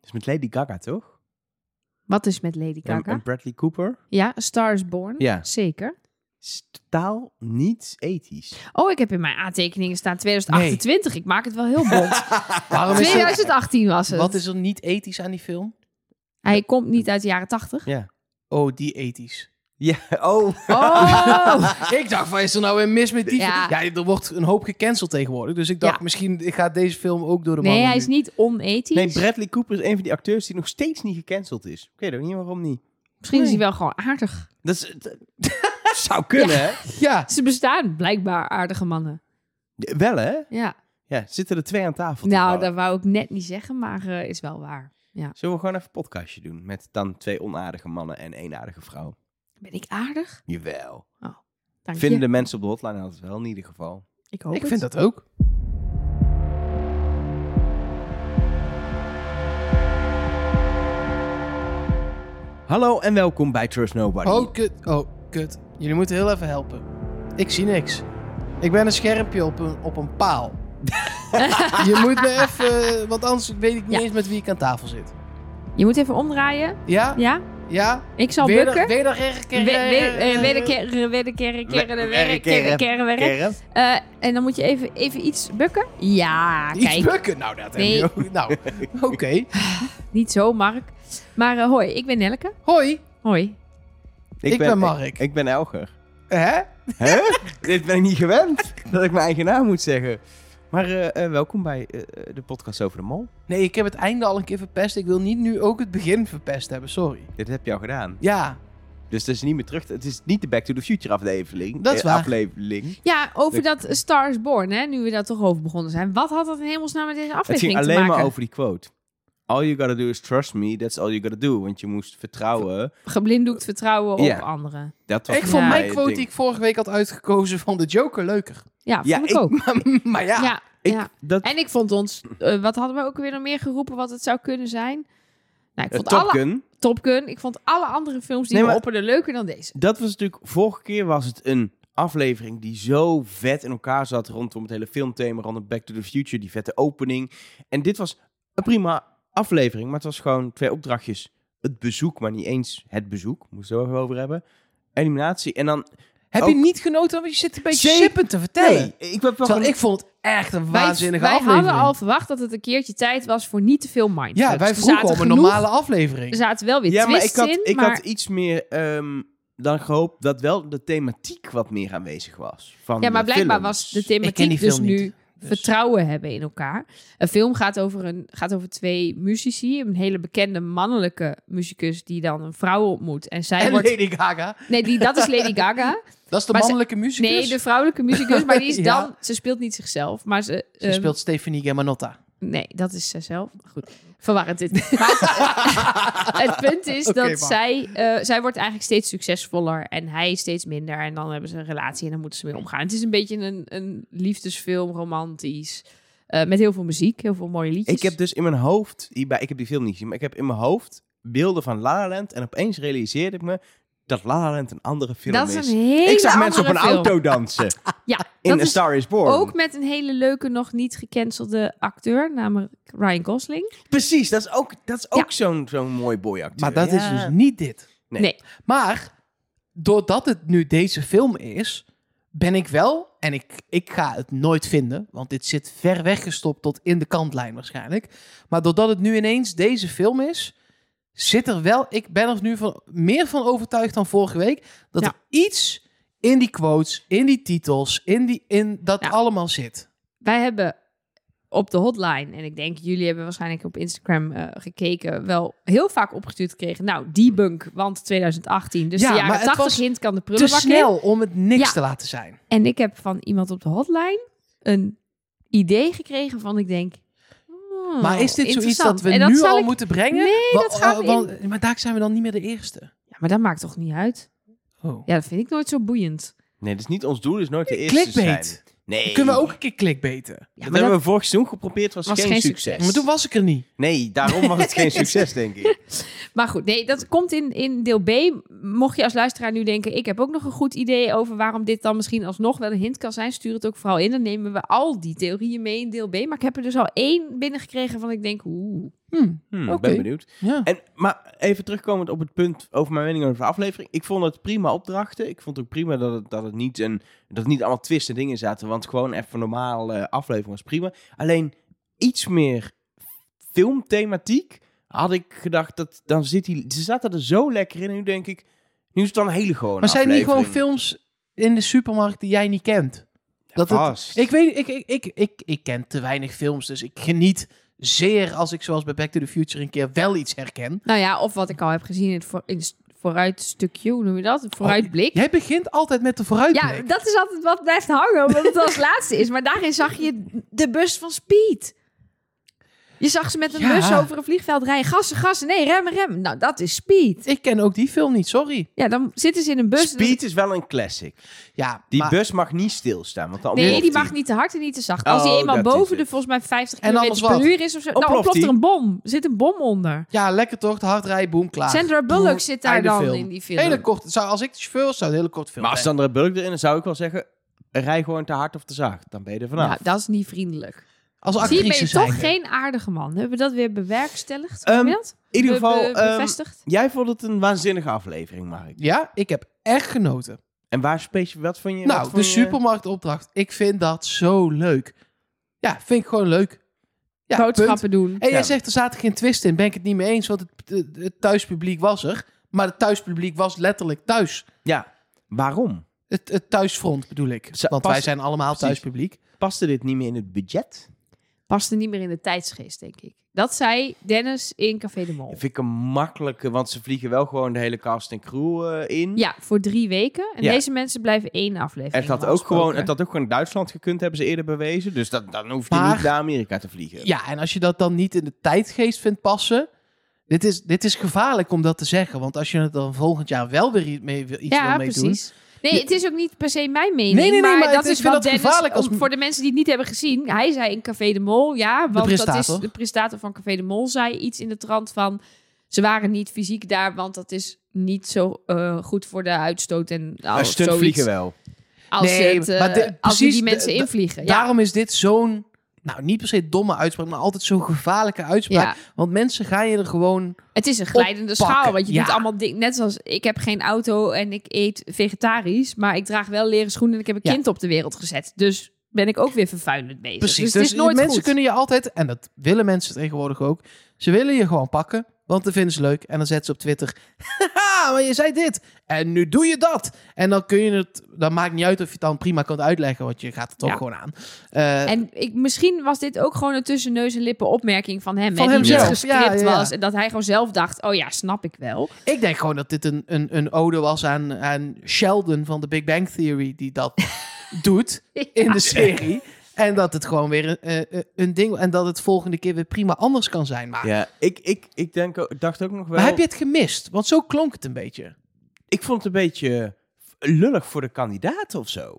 Dus met Lady Gaga, toch? Wat is met Lady En- Gaga? En Bradley Cooper. ja, Stars Born. Ja. Zeker. Is totaal niet ethisch. Oh, ik heb in mijn aantekeningen staan 2028. Ik maak het wel heel bond. Waarom is er, 2018 was het. wat is er niet ethisch aan die film? Hij komt niet uit de jaren 80. Ja. Oh, die ethisch. Ja, oh. Oh! ik dacht, van is er nou weer mis met die Ja. film? Ja, er wordt een hoop gecanceld tegenwoordig. Dus ik dacht, Ja. misschien gaat deze film ook door de Nee, mannen hij nu. is niet onethisch. Nee, Bradley Cooper is een van die acteurs die nog steeds niet gecanceld is. Ik weet ook niet waarom niet. Misschien is Nee. hij wel gewoon aardig. Dat is- eh, dat- zou kunnen, hè? Ja, Ze bestaan blijkbaar aardige mannen. Wel, hè? Ja. Ja, zitten er twee aan tafel. Nou, toevallig. dat wou ik net niet zeggen, maar eh, is wel waar. Zullen we gewoon even een podcastje doen met dan twee onaardige mannen en één aardige vrouw? Ben ik aardig? Jawel. Dank Vinden je. de mensen op de hotline dat wel in ieder geval. Ik hoop ik het. vind dat ook. Hallo en welkom bij Trust Nobody. Oh, kut. Oh, kut. Jullie moeten heel even helpen. Ik zie niks. Ik ben een schermpje op een, op een paal. je moet me even... Want anders weet ik niet Ja. eens met wie ik aan tafel zit. Je moet even omdraaien. Ja? Ja? Ja? Ik zal Weder- bukken. Wederkerker- eh, Wederkeren, eh, wederkeren, keren, wederkeren, keren, wederkeren. Kerren. Eh, En dan moet je even, even iets bukken. Ja, Iets Ah, kijk. bukken? Nou, dat Nee. heb je ook. Nou, oké. Niet zo, Mark. Maar eh, hoi, ik ben Nelke. Hoi. Hoi. Ik ben Mark. Ik, ik ben Elger. Hè? Hè? Dit ben ik niet gewend dat ik mijn eigen naam moet zeggen. Maar eh, eh, welkom bij eh, eh, de podcast over de mol. Nee, ik heb het einde al een keer verpest. Ik wil niet nu ook het begin verpest hebben. Sorry. Dit heb je al gedaan. Ja. Dus dat is niet meer terug. te- Het is niet de Back to the Future aflevering. Dat is eh, waar. Aflevering. Ja, over Ik- dat Stars Born, hè, nu we daar toch over begonnen zijn. Wat had dat in hemelsnaam met deze Het ging aflevering te alleen maar maken? over die quote. All you gotta do is trust me, that's all you gotta do. Want je moest vertrouwen. Geblinddoekt vertrouwen op Ja. anderen. Dat was Ik voor vond Ja. mij mijn het quote ding. die ik vorige week had uitgekozen van de Joker leuker. Ja, Ja, vond ik, ik- ook. maar ja. Ja, ja. Ik- dat, En ik vond ons... eh, wat hadden we ook weer nog meer geroepen wat het zou kunnen zijn? Nou, ik eh, vond Top alle, Gun, Top Gun. Ik vond alle andere films die Nee, we maar- opperden leuker dan deze. dat was natuurlijk... Vorige keer was het een aflevering die zo vet in elkaar zat... rondom het hele filmthema, rondom Back to the Future. Die vette opening. En dit was een prima aflevering. Maar het was gewoon twee opdrachtjes. Het bezoek, maar niet eens het bezoek. Moesten we het wel over hebben. Eliminatie. En dan... Heb je Ook- niet genoten? Want je zit een beetje Zeker. sippend te vertellen. ik ben wel Terwijl gewoon... ik vond het echt een Wij, waanzinnige wij aflevering. hadden al verwacht dat het een keertje tijd was voor niet te veel mindfucks. ja, wij Er vroegen zaten om een genoeg- normale Er aflevering. zaten wel weer Ja, maar ik twists had, in, ik maar... had iets meer ehm, dan gehoopt dat wel de thematiek wat meer aanwezig was. Van Ja, maar de blijkbaar films. was de Ik ken die thematiek dus film niet, nu dus. vertrouwen hebben in elkaar. Een film gaat over, een, gaat over twee muzici. Een hele bekende mannelijke muzikus die dan een vrouw ontmoet. En zij En wordt... Lady Gaga. Nee, die, dat is Lady Gaga. Dat is de Maar ze- mannelijke dus? muzikus. Nee, de vrouwelijke muzikus. Maar die is Ja. dan... Ze speelt niet zichzelf, maar ze... Ze ehm, speelt Stefanie Germanotta. Nee, dat is zijzelf. Goed, verwarrend dit. Maar het, het punt is Oké, dat maar. zij, eh, zij wordt eigenlijk steeds succesvoller en hij steeds minder. En dan hebben ze een relatie en dan moeten ze mee omgaan. Het is een beetje een, een liefdesfilm, romantisch, eh, met heel veel muziek, heel veel mooie liedjes. Ik heb dus in mijn hoofd, hierbij, ik heb die film niet gezien, maar ik heb in mijn hoofd beelden van La La Land en opeens realiseerde ik me dat La La Land een andere film dat is. is een hele ik zag mensen op een andere film. auto dansen Ja, in dat A is Star Is Born. ook met een hele leuke, nog niet gecancelde acteur, namelijk Ryan Gosling. Precies, dat is ook, dat is Ja. ook zo'n zo'n mooi boyacteur. Maar dat is Ja. dus niet dit. Nee. Nee. Maar doordat het nu deze film is, ben ik wel, en ik, ik ga het nooit vinden, want dit zit ver weggestopt tot in de kantlijn waarschijnlijk. Maar doordat het nu ineens deze film is, zit er wel, ik ben er nu van, meer van overtuigd dan vorige week, dat Ja. er iets in die quotes, in die titels, in, die, in dat Ja. allemaal zit. wij hebben op de hotline, en ik denk jullie hebben waarschijnlijk op Instagram eh, gekeken, wel heel vaak opgestuurd gekregen. Nou, debunk, want 2018, dus Ja, de maar jaren het 80 was hint kan de Te prullenbak in. snel om het niks Ja. te laten zijn. En ik heb van iemand op de hotline een idee gekregen van, ik denk... hmm, Maar is dit zoiets dat interessant. we En dat nu zal al ik- moeten brengen? Nee, Wa- dat gaan we eh, want- Maar daar zijn we dan niet meer de eerste. Ja, maar dat maakt toch niet uit? Oh. Ja, dat vind ik nooit zo boeiend. Nee, dat is niet ons doel, dus nooit de eerste te zijn. Clickbait. Nee. Kunnen we ook een keer clickbeten? Ja, dat maar hebben dat- we vorig seizoen geprobeerd, was, geen, succes. Maar toen was ik er niet. Nee, daarom was het geen succes, denk ik. Maar goed, nee, dat komt in, in deel B. Mocht je als luisteraar nu denken, ik heb ook nog een goed idee over waarom dit dan misschien alsnog wel een hint kan zijn, stuur het ook vooral in. Dan nemen we al die theorieën mee in deel B. Maar ik heb er dus al één binnengekregen van ik denk, oeh, Hm, Hmm, Oké. Ben benieuwd. ja. En, maar even terugkomend op het punt over mijn mening over de aflevering. Ik vond het prima opdrachten. Ik vond ook prima dat het, dat het, niet, een, dat het niet allemaal twist en dingen zaten. Want gewoon even normale eh, aflevering was prima. Alleen iets meer filmthematiek had ik gedacht. Dat, dan zit hij, ze zaten er zo lekker in. En nu denk ik, nu is het dan een hele gewone Maar zijn er niet gewoon aflevering. films in de supermarkt die jij niet kent? Dat het- Vast. ik weet, ik, ik, ik, ik, ik ken te weinig films, dus ik geniet zeer als ik zoals bij Back to the Future een keer wel iets herken. Nou ja, of wat ik al heb gezien in het, voor, in het vooruitstukje, hoe noem je dat? Een vooruitblik. Jij begint altijd met de Oh, ja, vooruitblik. dat is altijd wat blijft hangen, omdat het als laatste is. Maar daarin zag je de bus van Speed. Je zag ze met een Ja. bus over een vliegveld rijden. Gassen, gassen, nee, remmen, remmen. Nou, dat is Speed. Ik ken ook die film niet, sorry. Ja, dan zitten ze in een bus. Speed is wel een classic. Ja, Die maar- bus mag niet stilstaan. Want dan Nee, ontploft die hij. mag niet te hard en niet te zacht. Als Oh, die eenmaal dat is boven de het. volgens mij 50 En anders km per wat? uur is of zo. Nou, Ontploft ontploft er die? een bom. Er zit een bom onder. ja, lekker toch? De hard rijden, boom, klaar. Sandra Bullock zit daar einde dan film. in die film. Hele kort, zou, als ik de chauffeur was, zou het een hele kort film Maar als zijn. Sandra Bullock erin is, zou ik wel zeggen... Rij gewoon te hard of te zacht. Dan ben je er vanaf. Nou, dat is niet vriendelijk. Als Zie je, ben actrice je zijn. toch geen aardige man. Hebben we dat weer bewerkstelligd? Ehm, Hoe noem je dat? In ieder Be- geval, be- ehm, bevestigd? jij vond het een waanzinnige aflevering, Mark. Ja, ik heb echt genoten. En waar specie wat van je? wat Nou, vond de eh, je- supermarktopdracht. Ik vind dat zo leuk. Ja, vind ik gewoon leuk. Ja, Boodschappen punt. doen. En jij Ja. zegt, er zaten geen twist in. Ben ik het niet mee eens, want het, het- het thuispubliek was er. Maar het thuispubliek was letterlijk thuis. Ja. Waarom? Het, het thuisfront bedoel ik. Ze- Want pas- wij zijn allemaal precies. thuispubliek. Paste dit niet meer in het budget? Paste niet meer in de tijdsgeest, denk ik. Dat zei Dennis in Café de Mol. Vind ik een makkelijke, want ze vliegen wel gewoon de hele cast en crew eh, in. Ja, voor drie weken. En Ja. deze mensen blijven één aflevering. Het had, ook afgesproken. gewoon, het had ook gewoon Duitsland gekund, hebben ze eerder bewezen. Dus dat, dan hoeft je Maar- niet naar Amerika te vliegen. Ja, en als je dat dan niet in de tijdgeest vindt passen... Dit is, dit is gevaarlijk om dat te zeggen. Want als je het dan volgend jaar wel weer i- mee, wil- iets wil ja, mee doen... precies. Nee, het is ook niet per se mijn mening. Nee, nee, nee, maar, maar dat het- is ik vind wel dat Dennis, gevaarlijk als- om- voor de mensen die het niet hebben gezien. Hij zei in Café de Mol, ja, want dat is presentator. de prestator van Café de Mol zei iets in de trant van ze waren niet fysiek daar, want dat is niet zo eh, goed voor de uitstoot en al- Een stunt zoiets. vliegen wel. Als, Nee, het, eh, maar de- als we precies, die mensen de- de- invliegen. Ja. Daarom is dit zo'n... Nou, niet per se domme uitspraak, maar altijd zo'n gevaarlijke uitspraak. ja, Want mensen gaan je er gewoon... het is een glijdende Oppakken, schaal. Want je ja. doet allemaal dingen. Net zoals ik heb geen auto en ik eet vegetarisch, maar ik draag wel leren schoenen en ik heb een Ja. kind op de wereld gezet. Dus ben ik ook weer vervuilend bezig. Precies, Dus, dus, het is nooit mensen goed. kunnen je altijd... En dat willen mensen tegenwoordig ook. Ze willen je gewoon pakken, want dan vinden ze leuk. En dan zetten ze op Twitter... Haha, maar je zei dit. En nu doe je dat. En dan kun je het... Dan maakt niet uit of je het dan prima kunt uitleggen, want je gaat er toch Ja. gewoon aan. Eh, En ik, misschien was dit ook gewoon een tussen neus en lippen opmerking van hem. Van hè, die niet hemzelf, gescript ja, ja, ja. was. En dat hij gewoon zelf dacht, oh ja, snap ik wel. ik denk gewoon dat dit een, een, een ode was aan, aan Sheldon van de Big Bang Theory... die dat doet in de serie. En dat het gewoon weer een, eh, eh, een ding... En dat het volgende keer weer prima anders kan zijn. Maar, Ja, ik, ik, ik, denk, ook- ik dacht ook nog wel... maar heb je het gemist? Want zo klonk het een beetje. ik vond het een beetje lullig voor de kandidaten of zo.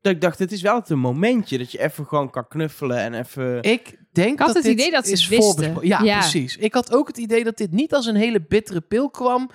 Dat ik dacht, het is wel het een momentje dat je even gewoon kan knuffelen en even... Ik denk Ik had dat het dit idee dat ze is het wisten. voorbesproken. Ja, Ja. precies. Ik had ook het idee dat dit niet als een hele bittere pil kwam.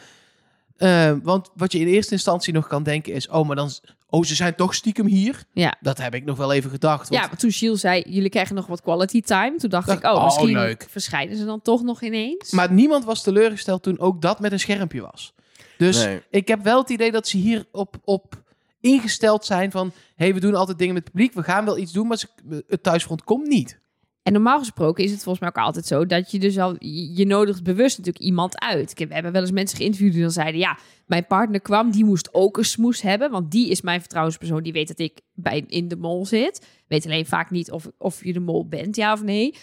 Eh, want wat je in eerste instantie nog kan denken is... oh, maar dan... oh, ze zijn toch stiekem hier? Ja. Dat heb ik nog wel even gedacht. Ja, want- maar toen Gilles zei, jullie krijgen nog wat quality time. Toen dacht Dacht, ik, oh, oh, misschien leuk. verschijnen ze dan toch nog ineens. Maar niemand was teleurgesteld toen ook dat met een schermpje was. Dus Nee. ik heb wel het idee dat ze hier op, op ingesteld zijn van... hey, we doen altijd dingen met het publiek. We gaan wel iets doen, maar ze- het thuisfront komt niet. En normaal gesproken is het volgens mij ook altijd zo dat je dus al, je je nodigt bewust natuurlijk iemand uit. Ik heb, we hebben wel eens mensen geïnterviewd die dan zeiden, ja, mijn partner kwam, die moest ook een smoes hebben, want die is mijn vertrouwenspersoon, die weet dat ik bij, in de mol zit. Weet alleen vaak niet of, of je de mol bent, ja of nee.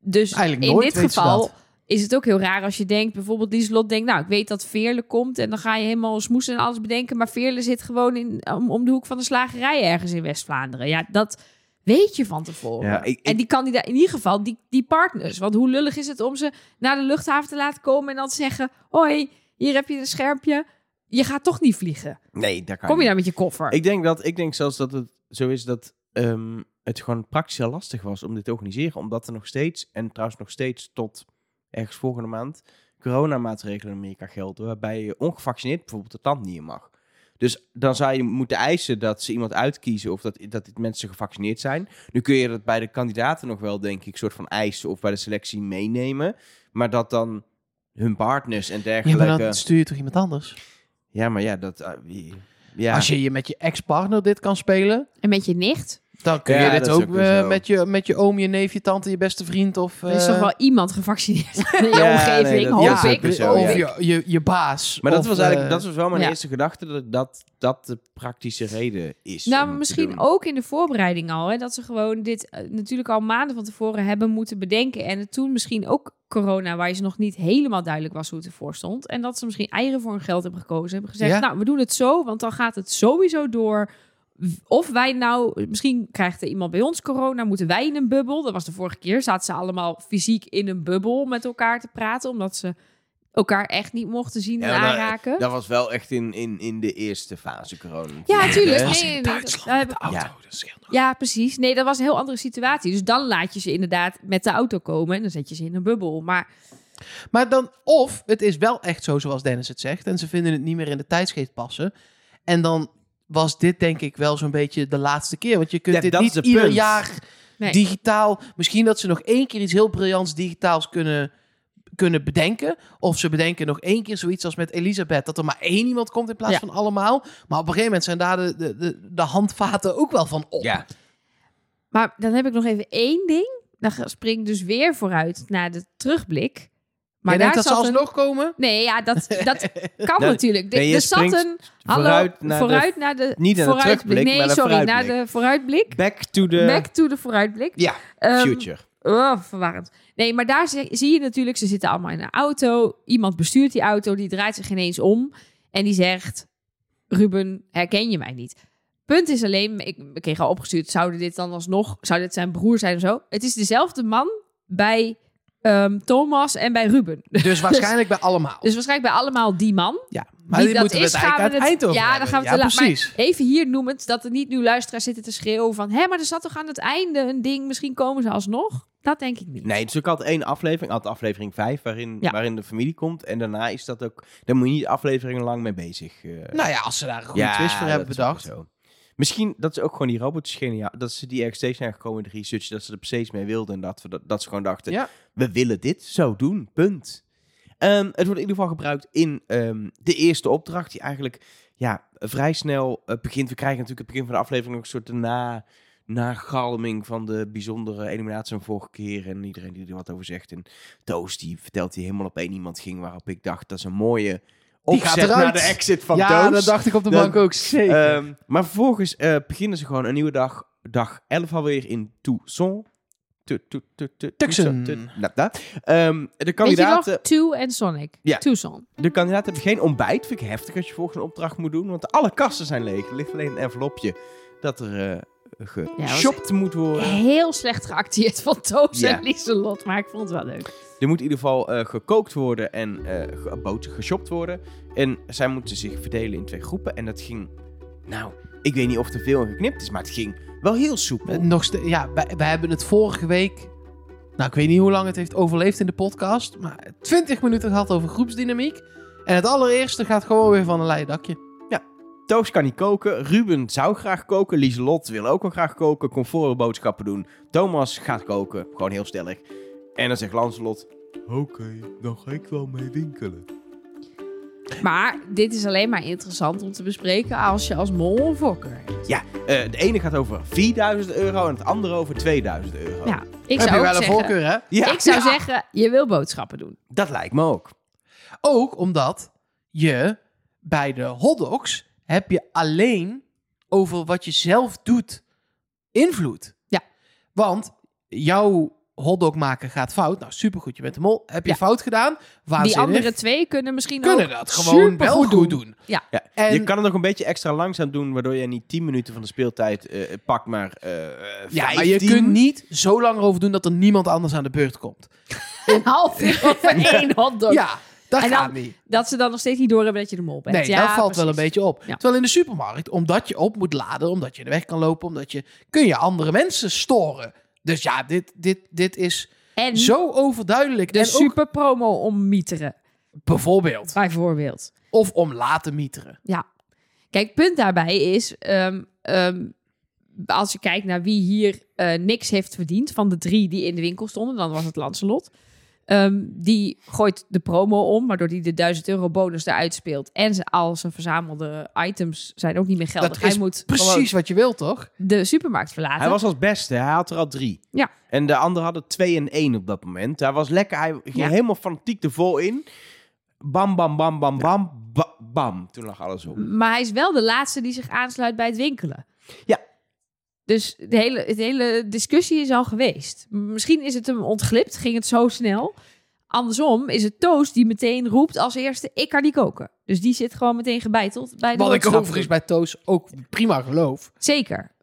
Dus Eigenlijk in nooit dit weet ze geval dat. is het ook heel raar als je denkt, bijvoorbeeld Lieslot denkt, nou, ik weet dat Veerle komt en dan ga je helemaal smoes en alles bedenken, maar Veerle zit gewoon in, om, om de hoek van de slagerij ergens in West-Vlaanderen. Ja, dat weet je van tevoren. Ja, ik- ik- En die kandidaat, in ieder geval die, die partners, want hoe lullig is het om ze naar de luchthaven te laten komen en dan te zeggen, hoi, hier heb je een schermpje, je gaat toch niet vliegen. Nee, daar kan Kom je niet. daar met je koffer? Ik denk, dat, ik denk zelfs dat het zo is dat ehm, het gewoon praktisch heel lastig was om dit te organiseren. Omdat er nog steeds, en trouwens nog steeds tot ergens volgende maand, coronamaatregelen in Amerika gelden. Waarbij je ongevaccineerd bijvoorbeeld het land niet in mag. Dus dan zou je moeten eisen dat ze iemand uitkiezen of dat, dat dit mensen gevaccineerd zijn. Nu kun je dat bij de kandidaten nog wel, denk ik, soort van eisen of bij de selectie meenemen. Maar dat dan hun partners en Ja, dergelijke. maar dan stuur je toch iemand anders? ja, maar ja, dat. eh, wie- ja. Als je je met je ex-partner dit kan spelen, En met je nicht? dan kun Ja, je dit dat is ook, ook weer eh, zo. met, je, met je oom, je neef, je tante, je beste vriend of... Er is toch eh, wel iemand gevaccineerd in je Ja, nee, omgeving, dat- hoop ja, ik. zeker zo, hoop ja. of ik. je, je, je baas. Maar dat of, was eigenlijk, eh, dat was wel mijn ja. eerste gedachte, dat, dat dat de praktische reden is. Nou, om maar te misschien doen. ook in de voorbereiding al. Hè, dat ze gewoon dit eh, natuurlijk al maanden van tevoren hebben moeten bedenken. En het toen misschien ook corona, waar je ze nog niet helemaal duidelijk was hoe het ervoor stond. En dat ze misschien eieren voor hun geld hebben gekozen. Hebben gezegd, Ja. nou, we doen het zo, want dan gaat het sowieso door. Of wij nou, misschien krijgt er iemand bij ons corona, moeten wij in een bubbel. Dat was de vorige keer, zaten ze allemaal fysiek in een bubbel met elkaar te praten. Omdat ze elkaar echt niet mochten zien en Ja, maar eh, dat- aanraken. Dat was wel echt in, in, in de eerste fase corona. ja, tuurlijk. Hè? Nee, nee, nee, dat- daar heb- auto, Ja. dat scheelt nog. Ja, precies. Nee, dat was een heel andere situatie. Dus dan laat je ze inderdaad met de auto komen en dan zet je ze in een bubbel. Maar Maar dan, of het is wel echt zo zoals Dennis het zegt en ze vinden het niet meer in de tijdsgeest passen. En dan was dit denk ik wel zo'n beetje de laatste keer. Want je kunt Ja, dit dat niet is het ieder punt. jaar nee. digitaal... Misschien dat ze nog één keer iets heel briljants digitaals kunnen, kunnen bedenken. Of ze bedenken nog één keer zoiets als met Elisabeth. Dat er maar één iemand komt in plaats Ja. van allemaal. Maar op een gegeven moment zijn daar de, de, de, de handvaten ook wel van op. Ja, Maar dan heb ik nog even één ding. Dan ga- spring ik dus weer vooruit naar de terugblik. Maar Maar daar denkt dat ze zat een- alsnog komen? Nee, ja, dat, dat Nou, kan natuurlijk. nee, je er zat springt een... Hallo, vooruit naar de- naar de... niet naar de vooruitblik. terugblik, Nee, maar de sorry, naar vooruitblik. de vooruitblik. Back to the Back to the vooruitblik. Ja, Ehm, future. Oh, verwarrend. Nee, maar daar zie, zie je natuurlijk, ze zitten allemaal in een auto. Iemand bestuurt die auto, die draait zich ineens om. En die zegt, Ruben, herken je mij niet? Punt is alleen, ik, ik kreeg al opgestuurd, zouden dit dan alsnog, zou dit zijn broer zijn of zo? Het is dezelfde man bij ehm, Thomas en bij Ruben. Dus waarschijnlijk bij allemaal. Dus waarschijnlijk bij allemaal die man. ja, Wie dit dat moeten we is, het eigenlijk gaan aan we het eind het- over ja, hebben. dan gaan we het ja, te laat- maar- precies. Even hier noemend, dat er niet nu luisteraars zitten te schreeuwen van... hé, maar er zat toch aan het einde een ding, misschien komen ze alsnog? Dat denk ik niet. Nee, het is ook altijd één aflevering, altijd aflevering 5, waarin, Ja. waarin de familie komt. En daarna is dat ook, daar moet je niet afleveringen lang mee bezig. eh, Nou ja, als ze daar een goede twist voor dat hebben is bedacht. ook zo. Misschien dat ze ook gewoon die robots geniaal, dat ze die ergens steeds zijn gekomen in de research, dat ze er steeds mee wilden en dat, we dat, dat ze gewoon dachten, Ja. we willen dit zo doen, punt. Ehm, het wordt in ieder geval gebruikt in ehm, de eerste opdracht, die eigenlijk ja, vrij snel eh, begint. We krijgen natuurlijk het begin van de aflevering ook een soort na, nagalming van de bijzondere eliminatie van vorige keer. En iedereen die er wat over zegt. En Toos die vertelt die helemaal op één iemand ging, waarop ik dacht, dat is een mooie Die gaat opzet naar eruit. de exit van ja, Toos. dat dacht ik op de Dan- bank ook zeker. Ehm, maar vervolgens eh, beginnen ze gewoon een nieuwe dag. Dag 11 alweer in Tucson. Tu- tu- tu- tu- Tucson. tu- da- da. Ehm, de, kandidaten, Weet je nog? Two en Sonic. Ja. Tucson. de kandidaten hebben geen ontbijt. Vind ik heftig als je volgens een opdracht moet doen. Want alle kasten zijn leeg. Er ligt alleen een envelopje dat er eh geshopt moet worden. Heel slecht geacteerd van Toos Ja. en Lieselot, maar ik vond het wel leuk. Er moet in ieder geval eh, gekookt worden en eh ge- boter geshopt worden. En zij moeten zich verdelen in twee groepen. En dat ging, nou, ik weet niet of er veel in geknipt is. Maar het ging wel heel soepel. Eh, Nog ste- ja, wij, wij hebben het vorige week... Nou, ik weet niet hoe lang het heeft overleefd in de podcast. Maar 20 minuten gehad over groepsdynamiek. En het allereerste gaat gewoon weer van een leien dakje. Toos kan niet koken. Ruben zou graag koken. Lieselot wil ook wel graag koken. Comfort boodschappen doen. Thomas gaat koken. Gewoon heel stellig. En dan zegt Lancelot... Oké, dan ga ik wel mee winkelen. Maar dit is alleen maar interessant om te bespreken als je als mol een fokker Oh. hebt. Ja, eh, de ene gaat over 4000 euro en het andere over 2000 euro. Ja, Nou, ik Heb zou je ook wel een zeggen, voorkeur, hè? Ja, Ik zou ja, zeggen, je wil boodschappen doen. Dat lijkt me ook. Ook omdat je bij de hotdogs heb je alleen over wat je zelf doet invloed. Ja. Want jouw hotdog maken gaat fout. Nou, supergoed, je bent de mol. Heb je Ja. fout gedaan? Waanzinnig. Die andere twee kunnen misschien kunnen ook dat gewoon wel supergoed goed doen. Ja. En- Je kan het nog een beetje extra langzaam doen... waardoor je niet 10 minuten van de speeltijd eh, pakt, maar eh Ja, 15. maar je kunt niet zo lang erover doen dat er niemand anders aan de beurt komt. Een half uur over één hotdog. Ja, dat En dan- gaat niet. Dat ze dan nog steeds niet door hebben dat je de mol bent. Nee, ja, dat valt wel een precies. beetje op. Ja. Terwijl in de supermarkt, omdat je op moet laden, omdat je de weg kan lopen, omdat je kun je andere mensen storen. Dus ja, dit, dit, dit is En zo overduidelijk. de en ook super promo om mieteren, bijvoorbeeld, bijvoorbeeld. of om laten mieteren. Ja. Kijk, punt daarbij is, ehm, ehm, als je kijkt naar wie hier eh, niks heeft verdiend van de drie die in de winkel stonden, dan was het Lancelot. Ehm, die gooit de promo om, waardoor hij de 1000 euro bonus eruit speelt. En ze- al zijn verzamelde items zijn ook niet meer geldig. Dat is hij moet Precies gewoon wat je wil, toch? de supermarkt verlaten. Hij was als beste, hij had er al drie. Ja. En de anderen hadden twee en één op dat moment. Hij was lekker, hij ging Ja. helemaal fanatiek er vol in. Bam, bam, bam, bam, bam, ba- bam. Toen lag alles op. Maar hij is wel de laatste die zich aansluit bij het winkelen. Ja. Dus de hele, de hele discussie is al geweest. M- Misschien is het hem ontglipt, ging het zo snel. Andersom is het Toos die meteen roept als eerste, ik kan niet koken. Dus die zit gewoon meteen gebeiteld bij de Wat ik boodschap. overigens bij Toos ook prima geloof. Zeker.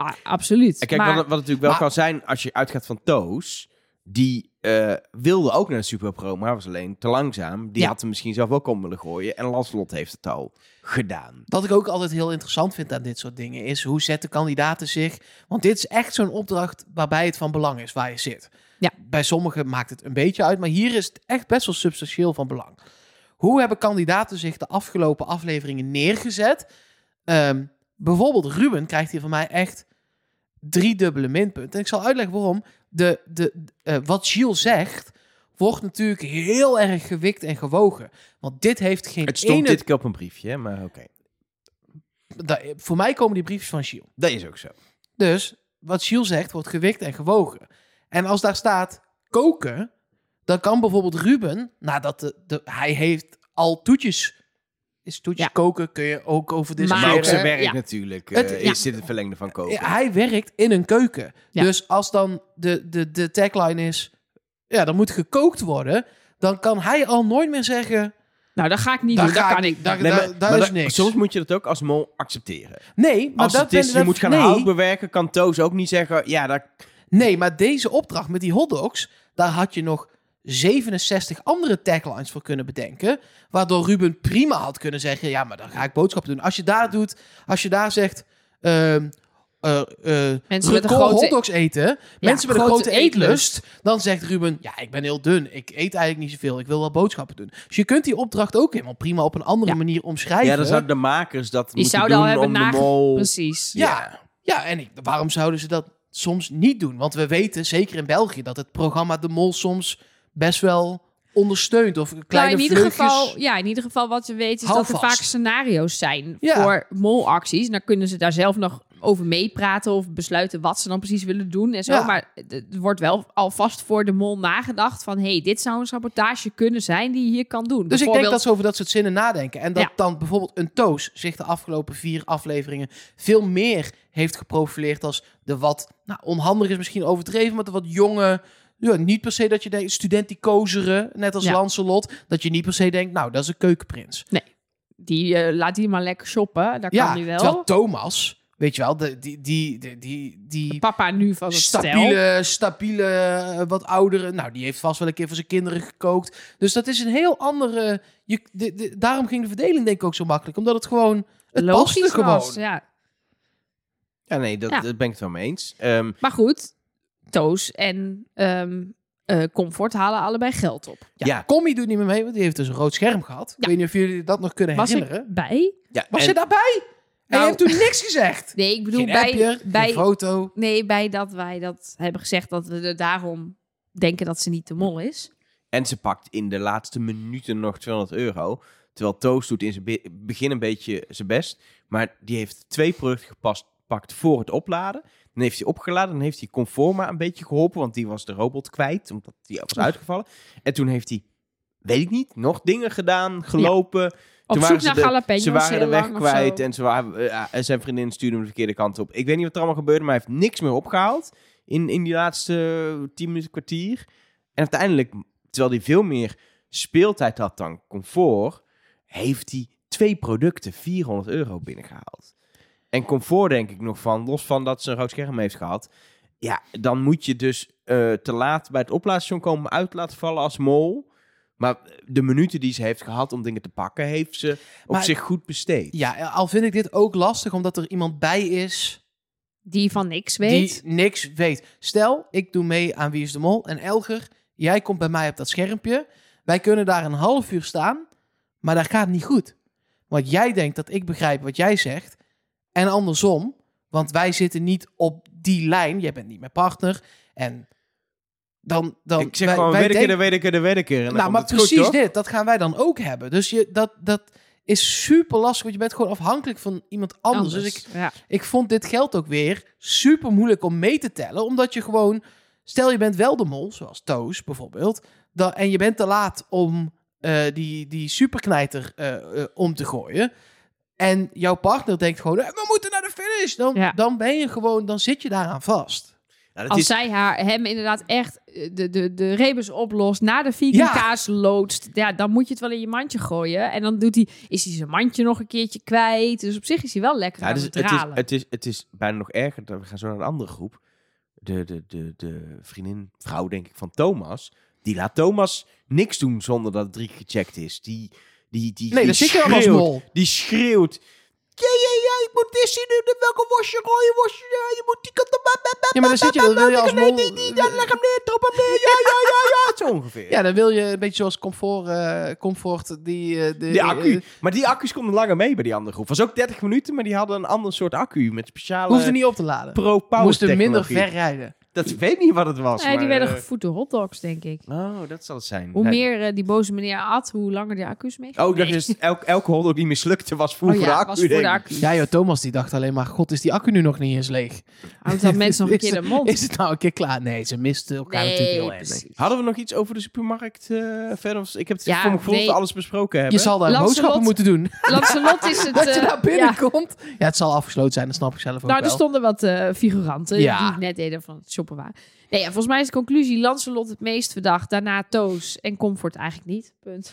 A- absoluut. En kijk, maar wat, het- wat het natuurlijk wel maar- kan zijn als je uitgaat van Toos. Die eh, wilde ook naar de Super Pro, maar was alleen te langzaam. Die Ja. had hem misschien zelf ook om willen gooien. En Lanslot heeft het al gedaan. Wat ik ook altijd heel interessant vind aan dit soort dingen is hoe zetten kandidaten zich. Want dit is echt zo'n opdracht waarbij het van belang is waar je zit. Ja. Bij sommigen maakt het een beetje uit, maar hier is het echt best wel substantieel van belang. Hoe hebben kandidaten zich de afgelopen afleveringen neergezet? Ehm, bijvoorbeeld Ruben krijgt hier van mij echt drie dubbele minpunten. En ik zal uitleggen waarom. De, de, eh, wat Gilles zegt, wordt natuurlijk heel erg gewikt en gewogen. Want dit heeft geen Het stond ene... dit keer op een briefje, maar oké. Da- voor mij komen die briefjes van Gilles. Dat is ook zo. Dus wat Gilles zegt, wordt gewikt en gewogen. En als daar staat koken, dan kan bijvoorbeeld Ruben, nadat de, de, hij heeft al toetjes. Is toetjes Ja. koken, kun je ook over Maar, Maar- discussiëren. ook zijn eh, werk ja. natuurlijk. Het- eh, ja. Is dit het verlengde van koken? Ja, Hij werkt in een keuken. Ja. Dus als dan de, de, de tagline is, ja, dan moet gekookt worden, dan kan hij al nooit meer zeggen, nou, dat ga ik niet Daar doen, dat ga ik kan niet- ik. daar- niet. Nee, da- maar- daar maar is da- niks. Soms moet je dat ook als mol accepteren. nee, maar als dat het is, ben- je dat- moet gaan nee, hout bewerken, kan Toos ook niet zeggen... Ja, dat, Nee, maar deze opdracht met die hotdogs, daar had je nog 67 andere taglines voor kunnen bedenken. Waardoor Ruben prima had kunnen zeggen, ja, maar dan ga ik boodschappen doen. Als je daar doet, als je daar zegt, ehm eh, eh, Mensen met een record grote- hotdogs eten, mensen met een grote grote eetlust, dan zegt Ruben, ja, ik ben heel dun, ik eet eigenlijk niet zoveel, ik wil wel boodschappen doen. Dus je kunt die opdracht ook helemaal prima op een andere Ja. manier omschrijven. ja, dan zouden de makers dat Die moeten zouden al doen hebben om de nage- mol... Precies. Ja, ja en ik, waarom zouden ze dat soms niet doen? Want we weten, zeker in België, dat het programma De Mol soms best wel ondersteunt. Of Nou, kleine Dus in ieder vleugjes- geval, ja, in ieder geval wat we weten is Hou dat er vast. vaak scenario's zijn Ja. voor molacties. En dan kunnen ze daar zelf nog over meepraten of besluiten wat ze dan precies willen doen en zo. Ja. Maar het het wordt wel alvast voor de mol nagedacht van, hey, dit zou een sabotage kunnen zijn die je hier kan doen. Dus ik denk Bijvoorbeeld- dat ze over dat soort zinnen nadenken. En dat Ja. dan bijvoorbeeld een Toos zich de afgelopen vier afleveringen veel meer heeft geprofileerd als de wat, nou onhandig is misschien overdreven, maar de wat jonge, ja, niet per se dat je denkt, student die kozeren, net als Ja. Lancelot, dat je niet per se denkt, nou dat is een keukenprins. die eh, laat die maar lekker shoppen. Dat kan nu wel. terwijl Thomas, weet je wel, de, die, die, die, die, die Papa nu van het stel. stabiele, stabiele, eh, wat oudere. Nou, die heeft vast wel een keer voor zijn kinderen gekookt. Dus dat is een heel andere. Je, de- de- daarom ging de verdeling denk ik ook zo makkelijk, omdat het gewoon het paste Logisch gewoon. was, ja. Ja, nee, dat, Ja. dat ben ik het wel mee eens. Ehm, Maar goed, Toos en ehm, eh, Comfort halen allebei geld op. Ja, Ja. Commie doet niet meer mee, want die heeft dus een rood scherm gehad. Ik Ja. weet niet of jullie dat nog kunnen Was herinneren. ik bij? ja, Was en- je daarbij? En Nou. je hebt toen niks gezegd. Nee, ik bedoel Geen appje, bij, geen bij foto. Nee, bij dat wij dat hebben gezegd dat we er daarom denken dat ze niet de mol is. En ze pakt in de laatste minuten nog 200 euro. Terwijl Toos doet in zijn be- begin een beetje zijn best. Maar die heeft twee producten gepast, pakt voor het opladen. Dan heeft hij opgeladen. Dan heeft hij Conforma een beetje geholpen. Want die was de robot kwijt. Omdat die was uitgevallen. En toen heeft hij, weet ik niet, nog dingen gedaan. Gelopen. Op Toen zoek waren ze naar de- jalapenos Ze waren heel de weg lang of kwijt. zo. En ze waren, eh, eh, zijn vriendin stuurde hem de verkeerde kant op. Ik weet niet wat er allemaal gebeurde. Maar hij heeft niks meer opgehaald. In, in die laatste 10 minuten kwartier. En uiteindelijk, terwijl hij veel meer speeltijd had dan comfort, heeft hij twee producten 400 euro binnengehaald. En comfort denk ik nog van, los van dat ze een rood scherm heeft gehad. Ja, dan moet je dus eh, te laat bij het oplaadstation komen uit laten vallen als mol. Maar de minuten die ze heeft gehad om dingen te pakken, heeft ze op Maar- zich goed besteed. Ja, al vind ik dit ook lastig, omdat er iemand bij is. Die van niks weet. Die niks weet. Stel, ik doe mee aan Wie is de Mol. En Elger, jij komt bij mij op dat schermpje. Wij kunnen daar een half uur staan, maar dat gaat niet goed. Want jij denkt dat ik begrijp wat jij zegt. En andersom, want wij zitten niet op die lijn. Jij bent niet mijn partner. En dan... dan ik zeg wij- gewoon wij weet ik denken- er, de weet ik er, de weet ik er. En dan nou, komt maar het goed, precies toch? dit, dat gaan wij dan ook hebben. Dus je, dat, dat is super lastig, want je bent gewoon afhankelijk van iemand anders. Dus ik, ja. ik vond dit geld ook weer super moeilijk om mee te tellen, omdat je gewoon, stel je bent wel de mol, zoals Toos bijvoorbeeld, dan, en je bent te laat om eh, die, die superknijter eh, eh, om te gooien. En jouw partner denkt gewoon, eh, we moeten naar de finish. Dan, Ja. dan ben je gewoon, dan zit je daaraan vast. Nou, dat Als is- zij haar, hem inderdaad echt eh, de, de, de rebus oplost, na de vier Ja. kaas loodst, ja, dan moet je het wel in je mandje gooien. En dan doet hij, is hij zijn mandje nog een keertje kwijt. Dus op zich is hij wel lekker Ja, aan het, is, het het, is, dralen. het, is, het is bijna nog erger. dat We gaan zo naar een andere groep. De, de, de, de vriendin, vrouw denk ik, van Thomas. Die laat Thomas niks doen zonder dat het drie gecheckt is. Die, die, die, Nee, die dan zit je dan als schreeuwt. mol. Die schreeuwt. Ja, ja, ja, ik moet dit zien. doen. Welke wasje, rode wasje. Ja, je moet die kant op. bap, bap, bap, Ja, maar dan zit je, dan wil je als Nee, mol... die, die, ja, leg hem neer, trap hem neer. Ja, ja, ja, ja. Zo ongeveer. Ja, dan wil je een beetje zoals comfort, eh, comfort die... eh, de, Die eh, accu. Maar die accu's konden langer mee bij die andere groep. Was ook 30 minuten, maar die hadden een ander soort accu. Met speciale hoefde niet op te laden. pro-power Moesten minder technologie. ver rijden. Dat weet niet wat het was. Nee, die maar, werden eh, gevoed door hotdogs, denk ik. Oh, dat zal het zijn. Hoe Nee. meer eh, die boze meneer at, hoe langer de accu's mee. Oh, dat is elk, elke hol ook niet mislukte was Oh vroeger ja, de accu. was voor denk de ik. accu. Ja, joh, Thomas die dacht alleen maar, god, is die accu nu nog niet eens leeg? Houdt dat mensen nog een keer de mond. Is het nou een keer klaar? Nee, ze misten elkaar natuurlijk heel erg. precies. Hadden we nog iets over de supermarkt eh, verder? Of- Ik heb het Ja, voor mijn gevoel dat we nee. alles besproken Je hebben. zal daar Lancelot- boodschappen moeten doen. Lancelot is het... Dat je eh, daar ja. binnenkomt. Ja. het zal afgesloten zijn, dat snap ik zelf ook Nou, er wel. stonden wat eh, figuranten Ja. die net deden van het shoppen waren. Nee, ja, volgens mij is de conclusie Lancelot het meest verdacht. Daarna Toos en Comfort eigenlijk niet. Punt.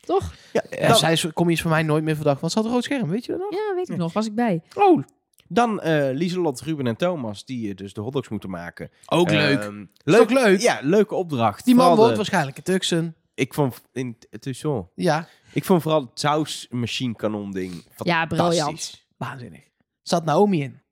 Toch? Ja, Dan- zij is- kom je eens voor mij nooit meer verdacht, want ze had een rood scherm, weet je dat nog? Ja, weet ik nog. Was ik bij. Oh. Dan eh Lieselot, Ruben en Thomas, die eh, dus de hotdogs moeten maken. Ook Ehm, Is leuk. ook leuk. Ja, leuke opdracht. Eh, Die man Vooral woont de- waarschijnlijk in Tucson. Ik vond, in, het is zo. Ja, ik vond vooral het sausmachine kanon ding Ja, briljant. waanzinnig. Zat Naomi in.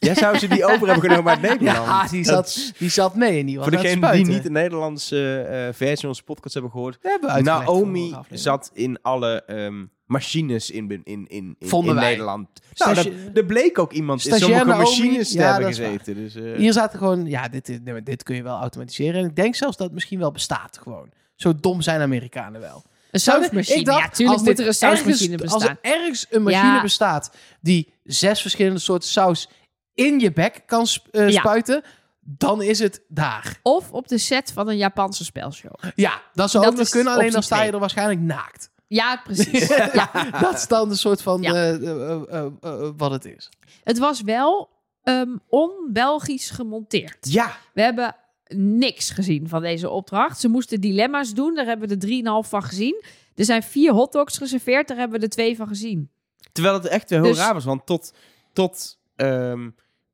Jij zou ze die over hebben genomen uit Nederland. Ja, die Dat- zat, die zat mee en die was Voor aan het degenen die spuiten. niet de Nederlandse eh, versie van onze podcast hebben gehoord. We hebben uitgelegd vorige Naomi aflevering. zat in alle ehm, machines in, in, in, in, in Vonden wij. Nederland. Nou, Stagi- dat- er bleek ook iemand in Stagiair sommige Naomi, machines te ja, hebben dat is waar. gezeten. Dus, eh, Hier zaten gewoon, ja, dit, is- nee, maar dit kun je wel automatiseren. En ik denk zelfs dat het misschien wel bestaat gewoon. Zo dom zijn Amerikanen wel. Een Ik sausmachine. dacht, Ja, tuurlijk als moet dit er een sausmachine ergens, bestaan. Als er ergens een machine Ja. bestaat die zes verschillende soorten saus in je bek kan sp- eh, Ja. spuiten, dan is het daar. Of op de set van een Japanse spelshow. Ja, dat zou Dat ook nog is kunnen, alleen dan optie sta je twee. er waarschijnlijk naakt. Ja, precies. ja. Dat is dan de soort van Ja. eh, eh, eh, eh, eh, wat het is. Het was wel ehm on-Belgisch gemonteerd. ja, We hebben niks gezien van deze opdracht. Ze moesten dilemma's doen. Daar hebben we er drieënhalf van gezien. Er zijn vier hotdogs geserveerd. Daar hebben we er twee van gezien. terwijl het echt wel heel Dus- raar was. Want tot, tot ehm,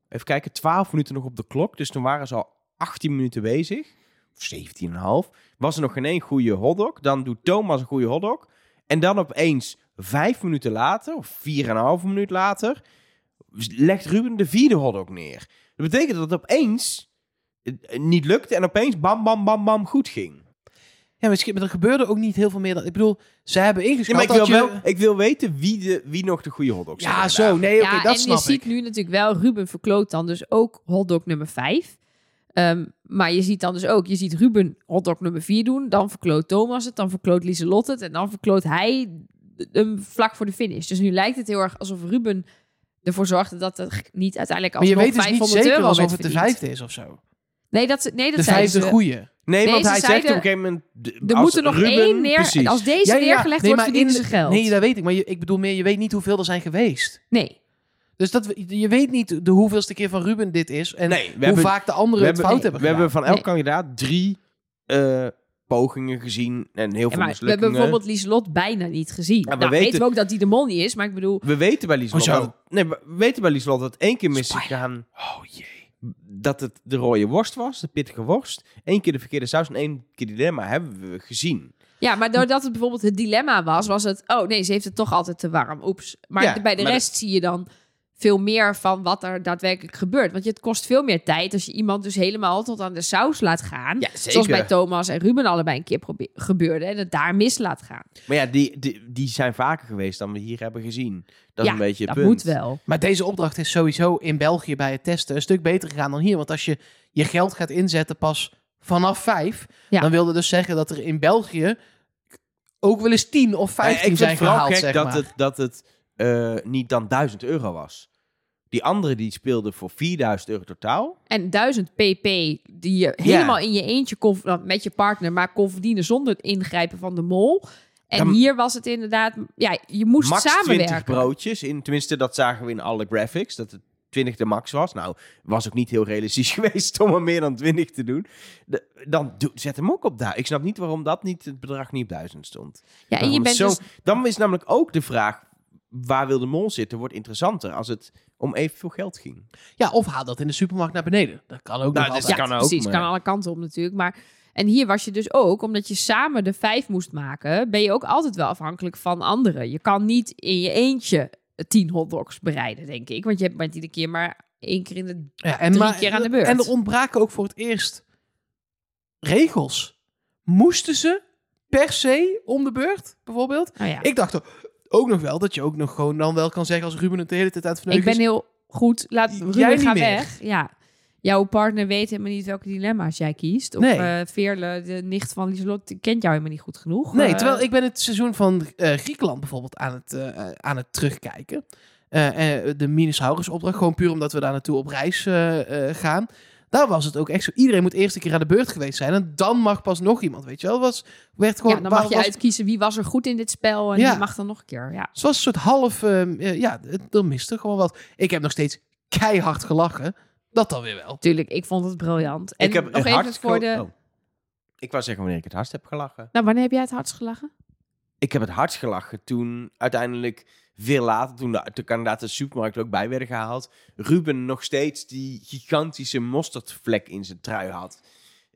even kijken, 12 minuten nog op de klok. Dus toen waren ze al 18 minuten bezig. Of 17,5. Was er nog geen één goede hotdog. Dan doet Thomas een goede hotdog. En dan opeens vijf minuten later, of 4,5 minuut later, legt Ruben de vierde hotdog neer. Dat betekent dat het opeens eh, eh, niet lukte en opeens bam, bam, bam, bam goed ging. Ja, misschien, maar er gebeurde ook niet heel veel meer. Dan, ik bedoel, ze hebben Ja, ingeschat maar ik wil, dat wel, je... ik wil weten wie, de, wie nog de goede hotdogs Ja, hebben zo. gedaan. Nee, oké, dat en snap je ziet ik. nu natuurlijk wel, Ruben verkloot dan dus ook hotdog nummer 5. maar je ziet dan dus ook, je ziet Ruben hotdog nummer 4 doen. Dan verkloot Thomas het, dan verkloot Lieselot het. En dan verkloot hij hem vlak voor de finish. Dus nu lijkt het heel erg alsof Ruben ervoor zorgde dat er niet uiteindelijk Maar je alsnog weet dus 500 niet zeker euro alsof werd het de verdiend. vijfde is of zo. Nee, dat, ze- nee, dat De zeiden vijfde ze. goeie. Nee, want Deze hij zegt zeiden- op een gegeven moment... d- Er als moet er nog Ruben- één neer. Precies. Als deze Ja, ja, ja. neergelegd Nee, wordt, maar verdienen in ze de- geld. Nee, dat weet ik. Maar je, ik bedoel meer, je weet niet hoeveel er zijn geweest. nee. Dus dat, we- je weet niet de hoeveelste keer van Ruben dit is. En Nee, we hoe hebben- vaak de anderen het fout hebben we hebben van gedaan. elk Nee. kandidaat drie eh, pogingen gezien en heel veel Ja, maar we hebben mislukkingen. bijvoorbeeld Lieslot bijna niet gezien. we nou, weten- weten we ook dat die de mol niet is, maar ik bedoel... We weten bij Lieslot Oh, zo. dat, nee, we weten bij Lieslot dat één keer mis is gegaan Oh jee. dat het de rode worst was, de pittige worst. Eén keer de verkeerde saus en één keer dilemma hebben we gezien. Ja, Hm. maar doordat het bijvoorbeeld het dilemma was, was het... Oh nee, ze heeft het toch altijd te warm. Oeps. Maar Ja, de- bij de maar rest zie je dan veel meer van wat er daadwerkelijk gebeurt. Want het kost veel meer tijd als je iemand dus helemaal tot aan de saus laat gaan. Ja, zeker. Zoals bij Thomas en Ruben allebei een keer probe- gebeurde. En het daar mis laat gaan. Maar ja, die, die, die zijn vaker geweest dan we hier hebben gezien. Dat is Ja, een beetje het Dat punt. moet wel. Maar deze opdracht is sowieso in België bij het testen een stuk beter gegaan dan hier. Want als je je geld gaat inzetten pas vanaf vijf, Ja. dan wilde dus zeggen dat er in België ook wel eens tien of Ja, vijftien ik zijn vind het vooral gehaald, gek zeg dat maar. het, dat het eh, niet dan 1000 euro was. Die andere die speelde voor 4000 euro totaal. En 1000 pp die je helemaal in je eentje kon, nou, met je partner, maar kon verdienen zonder het ingrijpen van de mol. En Dan- hier was het inderdaad, ja, je moest max samenwerken. 20 broodjes. In, tenminste, dat zagen we in alle graphics. Dat het 20 de max was. Nou, was ook niet heel realistisch geweest om er meer dan 20 te doen. De- dan doe- zet hem ook op daar. Ik snap niet waarom dat niet, het bedrag niet op 1000 stond. ja, en Waarom je het bent zo- dus, Dan is namelijk ook de vraag, waar wil de mol zitten, wordt interessanter als het om evenveel geld ging. Ja, of haal dat in de supermarkt naar beneden. Dat kan ook Nou, dat nog is- altijd. ja, kan ook, precies, maar- kan alle kanten op natuurlijk. Maar en hier was je dus ook, omdat je samen de vijf moest maken, ben je ook altijd wel afhankelijk van anderen. Je kan niet in je eentje 10 hotdogs bereiden, denk ik, want je bent iedere keer maar één keer in de. Ja, en Drie keer aan de beurt. En er ontbraken ook voor het eerst regels. Moesten ze per se om de beurt, bijvoorbeeld? Nou ja, ik, Ik dacht ook nog wel dat je ook nog gewoon dan wel kan zeggen als Ruben het de hele tijd aan het verneuken ben is, heel goed. Laat Jij Ruben niet gaan meer. weg. Ja. Jouw partner weet helemaal niet welke dilemma's jij kiest. Of Nee. eh, Veerle, de nicht van Lieselot, die kent jou helemaal niet goed genoeg. Nee, Eh, terwijl ik ben het seizoen van eh, Griekenland bijvoorbeeld aan het, eh, eh, aan het terugkijken. Eh, eh, de Minosaurus-opdracht, gewoon puur omdat we daar naartoe op reis eh, eh, gaan. Daar was het ook echt zo. Iedereen moet eerst een keer aan de beurt geweest zijn. En dan mag pas nog iemand, weet je wel. Was, werd gewoon, ja, dan mag waarom je was- uitkiezen wie was er goed in dit spel. En Ja. die mag dan nog een keer. Ja. Het was een soort half... ehm, eh, ja, het- er miste gewoon wat. Ik heb nog steeds keihard gelachen. Dat dan weer wel. Tuurlijk, ik vond het briljant. En ik heb nog het even hardst voor gel- de. Oh. Ik wou zeggen wanneer ik het hardst heb gelachen. Nou, wanneer heb jij het hardst gelachen? Ik heb het hardst gelachen toen uiteindelijk veel later, toen de, de kandidaten de supermarkt er ook bij werden gehaald, Ruben nog steeds die gigantische mosterdvlek in zijn trui had.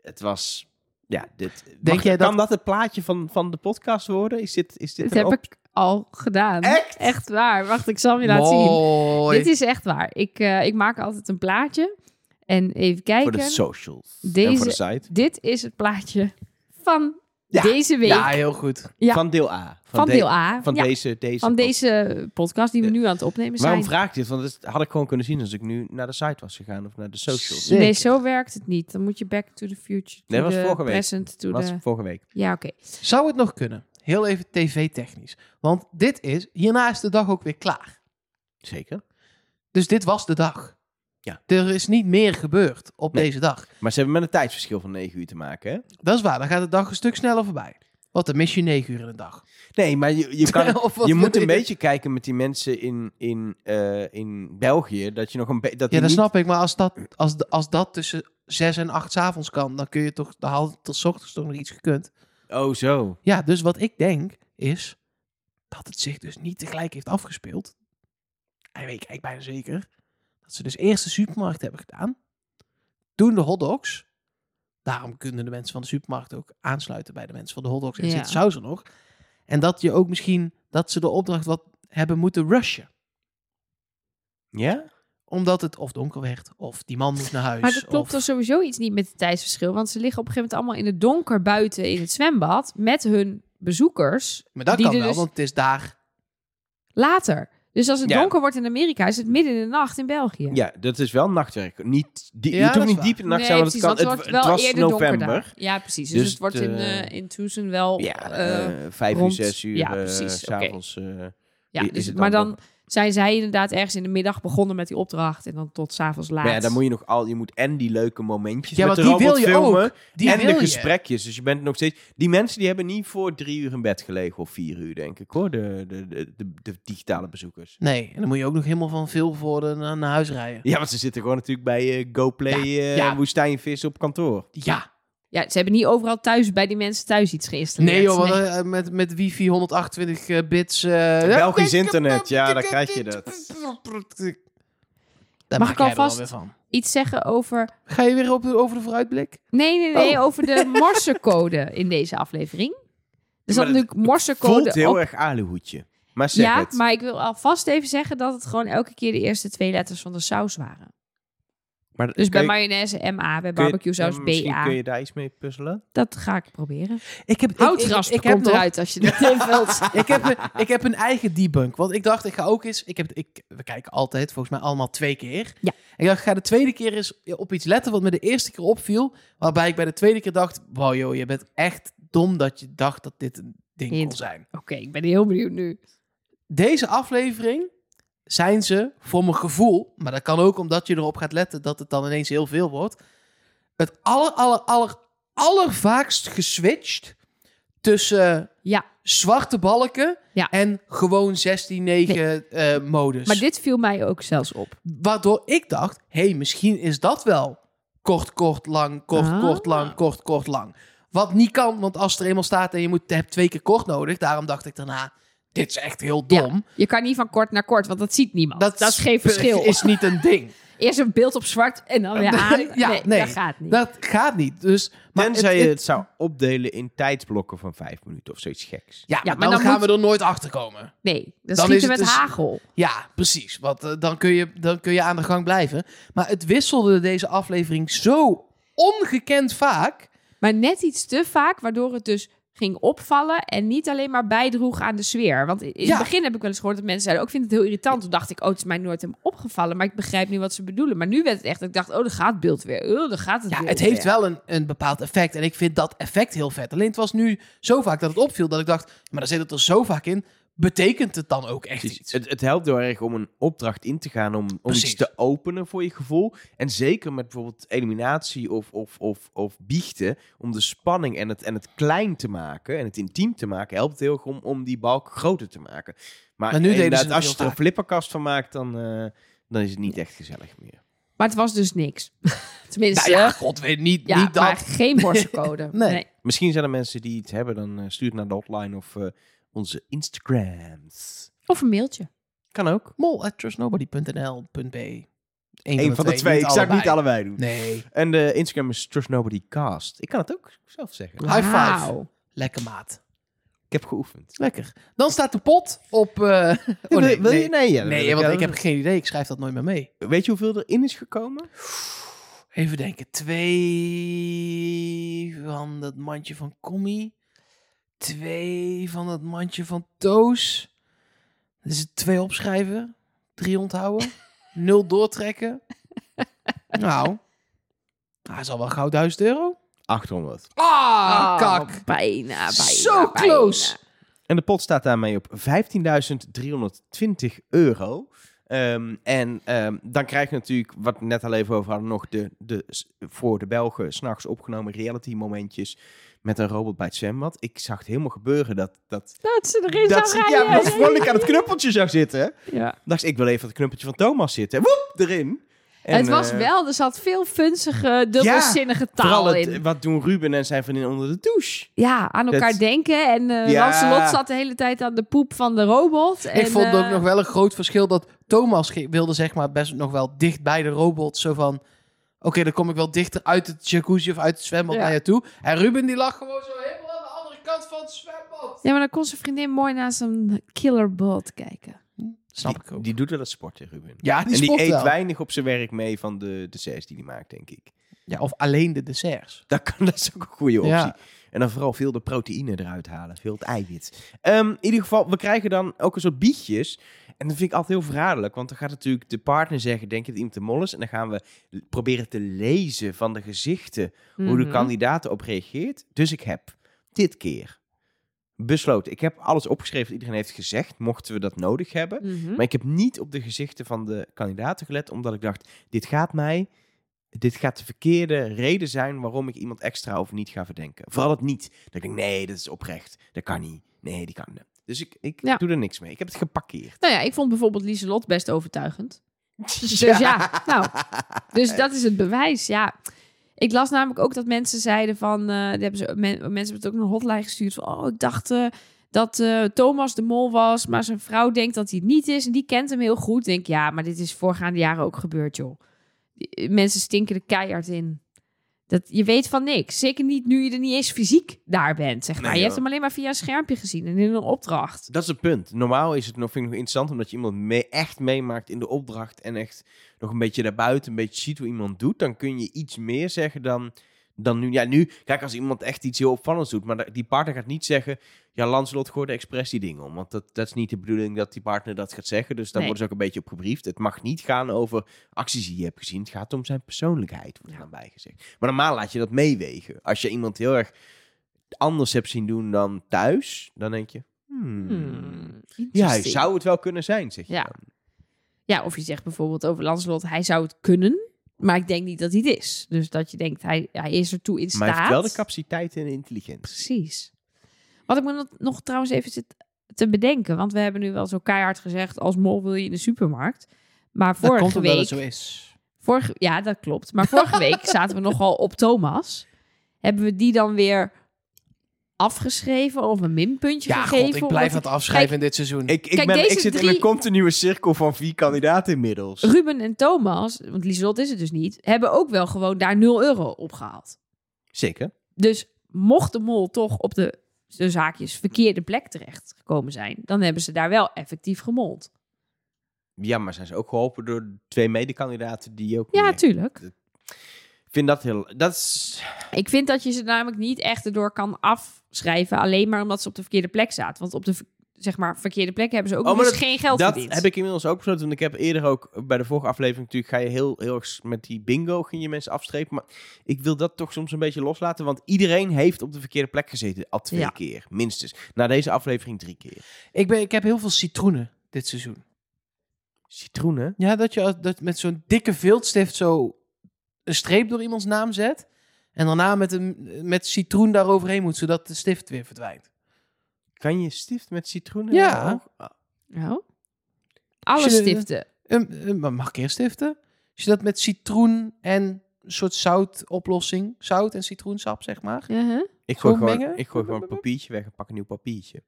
Het was, ja, dit. mag- jij dat- Kan dat het plaatje van, van de podcast worden? Is dit, is dit Dit een heb op- ik al gedaan. Echt? Echt waar. Wacht, ik zal hem je laten zien. Mooi. Dit is echt waar. Ik, eh, ik maak altijd een plaatje. En even voor de kijken. socials en Deze- voor de site Dit is het plaatje van Ja. deze week. Ja, heel goed. ja. van deel A van, deel A. van Ja, deze deze van podcast. deze podcast die we nu aan het opnemen Waarom zijn. vraag ik dit? Want dat had ik gewoon kunnen zien als ik nu naar de site was gegaan of naar de socials. Zeker. Nee, zo werkt het niet. Dan moet je back to the future. Nee, To was the vorige week. Present to Dat was the... vorige week. Ja, oké. Zou het nog kunnen? Heel even tv-technisch. Want dit is, hierna is de dag ook weer klaar. Zeker. Dus dit was de dag. Ja. Er is niet meer gebeurd op Nee. deze dag. Maar ze hebben met een tijdsverschil van 9 uur te maken, hè? Dat is waar, dan gaat de dag een stuk sneller voorbij. Want dan mis je negen uur in de dag. Nee, maar je, je, kan, Of wat je moet bedoel een beetje kijken met die mensen in, in, eh, in België. Dat je nog een beetje... Dat die Ja, dat niet- snap ik. Maar als dat, als, de- als dat tussen zes en acht 's avonds kan... dan kun je toch de halve tot 's ochtends toch nog iets gekund. Oh, zo. Ja, dus wat ik denk is... dat het zich dus niet tegelijk heeft afgespeeld. En weet ik eigenlijk bijna zeker. Dat ze dus eerst de supermarkt hebben gedaan. Toen de hotdogs. Daarom kunnen de mensen van de supermarkt ook aansluiten bij de mensen van de hotdogs. En Ja. zit saus er nog. En dat je ook misschien... dat ze de opdracht wat hebben moeten rushen Ja? omdat het of donker werd, of die man moest naar huis. Maar dat klopt of- er sowieso iets niet met het tijdsverschil. Want ze liggen op een gegeven moment allemaal in het donker buiten in het zwembad. Met hun bezoekers Maar dat die kan er wel, dus- want het is daar. later. Dus als het Ja. donker wordt in Amerika, is het midden in de nacht in België. Ja, dat is wel nachtwerk. Niet, die, Ja, je hoeft dat ook is niet waar. diep in de nacht Nee, zijn, want precies, het, kan, want het, het wordt het wel was eerder donker november. daar. Ja, precies. Dus, Dus het wordt het, in, eh, eh in Tucson wel... Ja, eh, eh, vijf rond- uur, zes uur, ja, ja, precies, precies, oké. s'avonds. eh, ja, i- dus, is het maar dan donker. zijn zij inderdaad ergens in de middag begonnen met die opdracht. En dan tot s'avonds laat. Maar ja, dan moet je nog al... Je moet en die leuke momentjes Ja, met de want die wil robot je filmen. ook. Die en wil de je. gesprekjes. Dus je bent nog steeds. Die mensen die hebben niet voor drie uur in bed gelegen of vier uur, denk ik hoor. De, de, de, de, de digitale bezoekers. Nee, en dan moet je ook nog helemaal van veel voor de- naar, naar huis rijden. Ja, want ze zitten gewoon natuurlijk bij eh, GoPlay eh ja. Woestijnvis op kantoor. Ja. Ja, ze hebben niet overal thuis bij die mensen thuis iets geïnstalleerd. Nee joh, want, eh, met, met wifi 128 eh, bits. eh, Belgisch internet, ja, dan krijg je dat. Daar Mag maak ik alvast- jij er wel weer van. Iets zeggen over... Ga je weer op, over de vooruitblik? Nee, nee, nee, Oh. over de morsecode in deze aflevering. Er maar zat het natuurlijk Voelt morsecode heel op. erg aluhoedje. Maar zeg ja, het. maar ik wil alvast even zeggen dat het gewoon elke keer de eerste twee letters van de saus waren. Maar Dus kun bij je- mayonaise MA, bij kun je- barbecue saus ja, misschien BA. kun je daar iets mee puzzelen. Dat ga ik proberen. Ik heb, ik- Houtras ik, ik, heb komt nog- eruit als je dat invult. ik, heb een, ik heb een eigen debunk. Want ik dacht, ik ga ook eens. Ik heb, ik, we kijken altijd, volgens mij, allemaal twee keer. Ja. Ik dacht, ik ga de tweede keer eens op iets letten wat me de eerste keer opviel. Waarbij ik bij de tweede keer dacht: wow, joh, je bent echt dom dat je dacht dat dit een ding kon Hint. zijn. Oké, ik ben heel benieuwd nu. Dus- Deze aflevering zijn ze voor mijn gevoel, maar dat kan ook omdat je erop gaat letten dat het dan ineens heel veel wordt. Het aller, aller, aller, allervaakst geswitcht tussen Ja. zwarte balken Ja. en gewoon 16-9 eh, modus. Maar dit viel mij ook zelfs op. Waardoor ik dacht, hé, hey, misschien is dat wel kort, kort, lang, kort, Ah. kort, lang, kort, kort, lang. Wat niet kan, want als het er eenmaal staat en je moet, hebt twee keer kort nodig, daarom dacht ik daarna, dit is echt heel Ja. dom. Je kan niet van kort naar kort, want dat ziet niemand. Dat, is geen spe- verschil. is niet een ding. Eerst een beeld op zwart en dan weer aan. Ja, nee, nee. dat gaat niet. Dat gaat niet. Dus, maar Tenzij het- je het- het zou opdelen in tijdsblokken van vijf minuten of zoiets geks. ja, maar maar dan, dan gaan moet- we er nooit achter komen. nee, dat Dan is schieten het met dus- hagel. Ja, precies. Want eh, dan, kun je, dan kun je aan de gang blijven. Maar het wisselde deze aflevering zo ongekend vaak. Maar net iets te vaak, waardoor het dus ging opvallen en niet alleen maar bijdroeg aan de sfeer. Want in Ja. het begin heb ik wel eens gehoord dat mensen zeiden, ook ik vind het heel irritant. Toen dacht ik, oh, het is mij nooit hem opgevallen, maar ik begrijp nu wat ze bedoelen. Maar nu werd het echt, dat ik dacht, oh, daar gaat het beeld weer. Oh, daar gaat het Ja, beeld het heeft weer. wel een, een bepaald effect. En ik vind dat effect heel vet. Alleen het was nu zo vaak dat het opviel dat ik dacht... maar daar zit het er zo vaak in. Betekent het dan ook echt Dus iets? het, het helpt heel erg om een opdracht in te gaan, om, om Precies. iets te openen voor je gevoel. En zeker met bijvoorbeeld eliminatie of, of, of, of biechten, om de spanning en het, en het klein te maken en het intiem te maken, helpt het heel erg om, om die balk groter te maken. Maar, Maar nu deden ze inderdaad, het als heel je er een vaak. flipperkast van maakt, dan, eh, dan is het niet echt gezellig meer. Maar het was dus niks. Tenminste, Nou ja, god weet niet, eh, ja, niet dat. maar geen borstcode. Nee. Misschien zijn er mensen die iets hebben, dan eh, stuur het naar de hotline of eh, onze Instagrams. Of een mailtje. Kan ook. Mol at trustnobody.nl.b. Eén Eén van de twee. Ik zou het niet allebei doen. Nee. En de Instagram is Trust Nobody Cast. Ik kan het ook zelf zeggen. High five. Wauw. Lekker maat. Ik heb geoefend. Lekker. Dan staat de pot op... eh, oh, nee, wil nee. je? Nee, ja, dat wil Nee, want ja, ik dat- heb geen idee. Ik schrijf dat nooit meer mee. Weet je hoeveel erin is gekomen? Even denken. Twee van dat mandje van Commie. Twee van dat mandje van Toos. Dus twee opschrijven. Drie onthouden. nul doortrekken. nou. Dat is al wel gauw 1000 euro. 800. Ah, Oh, kak. Bijna, bijna. Zo bijna. close. En de pot staat daarmee op 15.320 euro. Ehm, en ehm, dan krijg je natuurlijk, wat we net al even over hadden, nog de, de s- voor de Belgen s'nachts opgenomen reality momentjes met een robot bij het zwembad. Ik zag het helemaal gebeuren dat... dat Dat ze erin dat zou ze- rijden. ja, dat Monica aan het knuppeltje zou zitten. Ja. dacht ik, ik wil even het knuppeltje van Thomas zitten. Woep, erin. En, het was eh, wel, er zat veel funzige, dubbelzinnige taal Vooral het, eh, in. wat doen Ruben en zijn vriendin onder de douche? Ja, aan elkaar dat- denken. En eh Ja. Lancelot zat de hele tijd aan de poep van de robot. en, Ik vond ook eh, nog wel een groot verschil dat Thomas ge- wilde zeg maar best nog wel dicht bij de robot. Zo van, oké, dan kom ik wel dichter uit het jacuzzi of uit het zwembad Ja. naar je toe. En Ruben die lag gewoon zo helemaal aan de andere kant van het zwembad. Ja, maar dan kon zijn vriendin mooi naar zijn killerbot kijken. Snap die, ik ook. Die doet wel dat sporten, Ruben. ja, die, en die sport eet wel. weinig op zijn werk mee van de desserts die hij maakt, denk ik. Ja, of alleen de desserts. Dat, kan, dat is ook een goede optie. Ja. En dan vooral veel de proteïne eruit halen, veel het eiwit. Ehm, in ieder geval, we krijgen dan ook een soort bietjes. En dat vind ik altijd heel verraderlijk, want dan gaat natuurlijk de partner zeggen, denk je dat iemand de mol is? En dan gaan we l- proberen te lezen van de gezichten hoe de Mhm. kandidaat erop reageert. Dus ik heb dit keer besloten, ik heb alles opgeschreven wat iedereen heeft gezegd, mochten we dat nodig hebben. Mhm. Maar ik heb niet op de gezichten van de kandidaten gelet, omdat ik dacht: dit gaat mij. Dit gaat de verkeerde reden zijn waarom ik iemand extra of niet ga verdenken. Vooral het niet. Dat ik denk: nee, dat is oprecht. Dat kan niet. Nee, die kan niet. Dus ik, ik Ja. doe er niks mee. Ik heb het geparkeerd. Nou ja, ik vond bijvoorbeeld Lieselot best overtuigend. Dus ja, nou, dus dat is het bewijs, ja. Ik las namelijk ook dat mensen zeiden van... eh, die hebben ze, men- mensen hebben het ook naar een hotline gestuurd van... Oh, ik dacht eh, dat eh, Thomas de mol was, maar zijn vrouw denkt dat hij het niet is. En die kent hem heel goed. Ik denk, eh, ja, maar dit is voorgaande jaren ook gebeurd, joh. Die- Mensen stinken er keihard in. Dat, je weet van niks. Zeker niet nu je er niet eens fysiek daar bent, zeg maar. Nee, je joh. hebt hem alleen maar via een schermpje gezien en in een opdracht. Dat is het punt. Normaal is het nog, vind ik nog interessant omdat je iemand mee, echt meemaakt in de opdracht en echt nog een beetje daarbuiten, een beetje ziet hoe iemand doet. Dan kun je iets meer zeggen dan, dan nu. Ja, nu, kijk, als iemand echt iets heel opvallends doet, maar da- die partner gaat niet zeggen: Ja, Lancelot gooit expres die dingen om. Want dat, dat is niet de bedoeling dat die partner dat gaat zeggen. Dus daar Nee. worden ze ook een beetje op gebriefd. Het mag niet gaan over acties die je hebt gezien. Het gaat om zijn persoonlijkheid, wordt er Ja. dan bijgezegd. Maar normaal laat je dat meewegen. Als je iemand heel erg anders hebt zien doen dan thuis, dan denk je. "Hmm, Hmm, ja, hij interesting. zou het wel kunnen zijn, zeg je. Ja. dan. Ja, of je zegt bijvoorbeeld over Lancelot, hij zou het kunnen, maar ik denk niet dat hij het is. Dus dat je denkt, hij, hij is ertoe in staat. Maar hij heeft wel de capaciteit en de intelligentie. Precies. Wat ik me nog- nog trouwens even zit te bedenken, want we hebben nu wel zo keihard gezegd, als mol wil je in de supermarkt. Maar dat vorige komt omdat week, het zo is. vorige, ja dat klopt, maar vorige week zaten we nogal op Thomas. Hebben we die dan weer afgeschreven of een minpuntje Ja, gegeven? god, ik omdat blijf het afschrijven in dit seizoen. Ik, ik, Kijk, ben, ik deze zit in drie- een continue cirkel van vier kandidaten inmiddels. Ruben en Thomas, want Lieselot is het dus niet, hebben ook wel gewoon daar 0 euro opgehaald. Zeker. Dus mocht de mol toch op de, de zaakjes verkeerde plek terecht gekomen zijn, dan hebben ze daar wel effectief gemold. Ja, maar zijn ze ook geholpen door twee medekandidaten die ook... Ja, niet- tuurlijk. Ik vind dat heel... Dat is... Ik vind dat je ze namelijk niet echt erdoor kan afschrijven, alleen maar omdat ze op de verkeerde plek zaten. Want op de ver- zeg maar, verkeerde plek hebben ze ook Oh, nog maar eens geen geld dat verdiend. heb ik inmiddels ook besloten. Want ik heb eerder ook bij de vorige aflevering natuurlijk... ga je heel, heel erg s- met die bingo ging je mensen afstrepen. Maar ik wil dat toch soms een beetje loslaten. Want iedereen heeft op de verkeerde plek gezeten. Al twee Ja. keer, minstens. Na deze aflevering drie keer. Ik, ben, ik heb heel veel citroenen dit seizoen. Citroenen? Ja, dat je als- dat met zo'n dikke viltstift zo een streep door iemands naam zet. En daarna met, een, met citroen daaroverheen moet, zodat de stift weer verdwijnt. Kan je stift met citroenen? Ja. Nou, alle Zullen we- stiften. Een, een- Ehm, maar mag ik eerst stiften? Als je dat met citroen en een soort zoutoplossing, zout en citroensap, zeg maar. Uh-huh. Ik gooi, Gewoon gewoon, mengen? ik gooi gewoon een papiertje weg en pak een nieuw papiertje.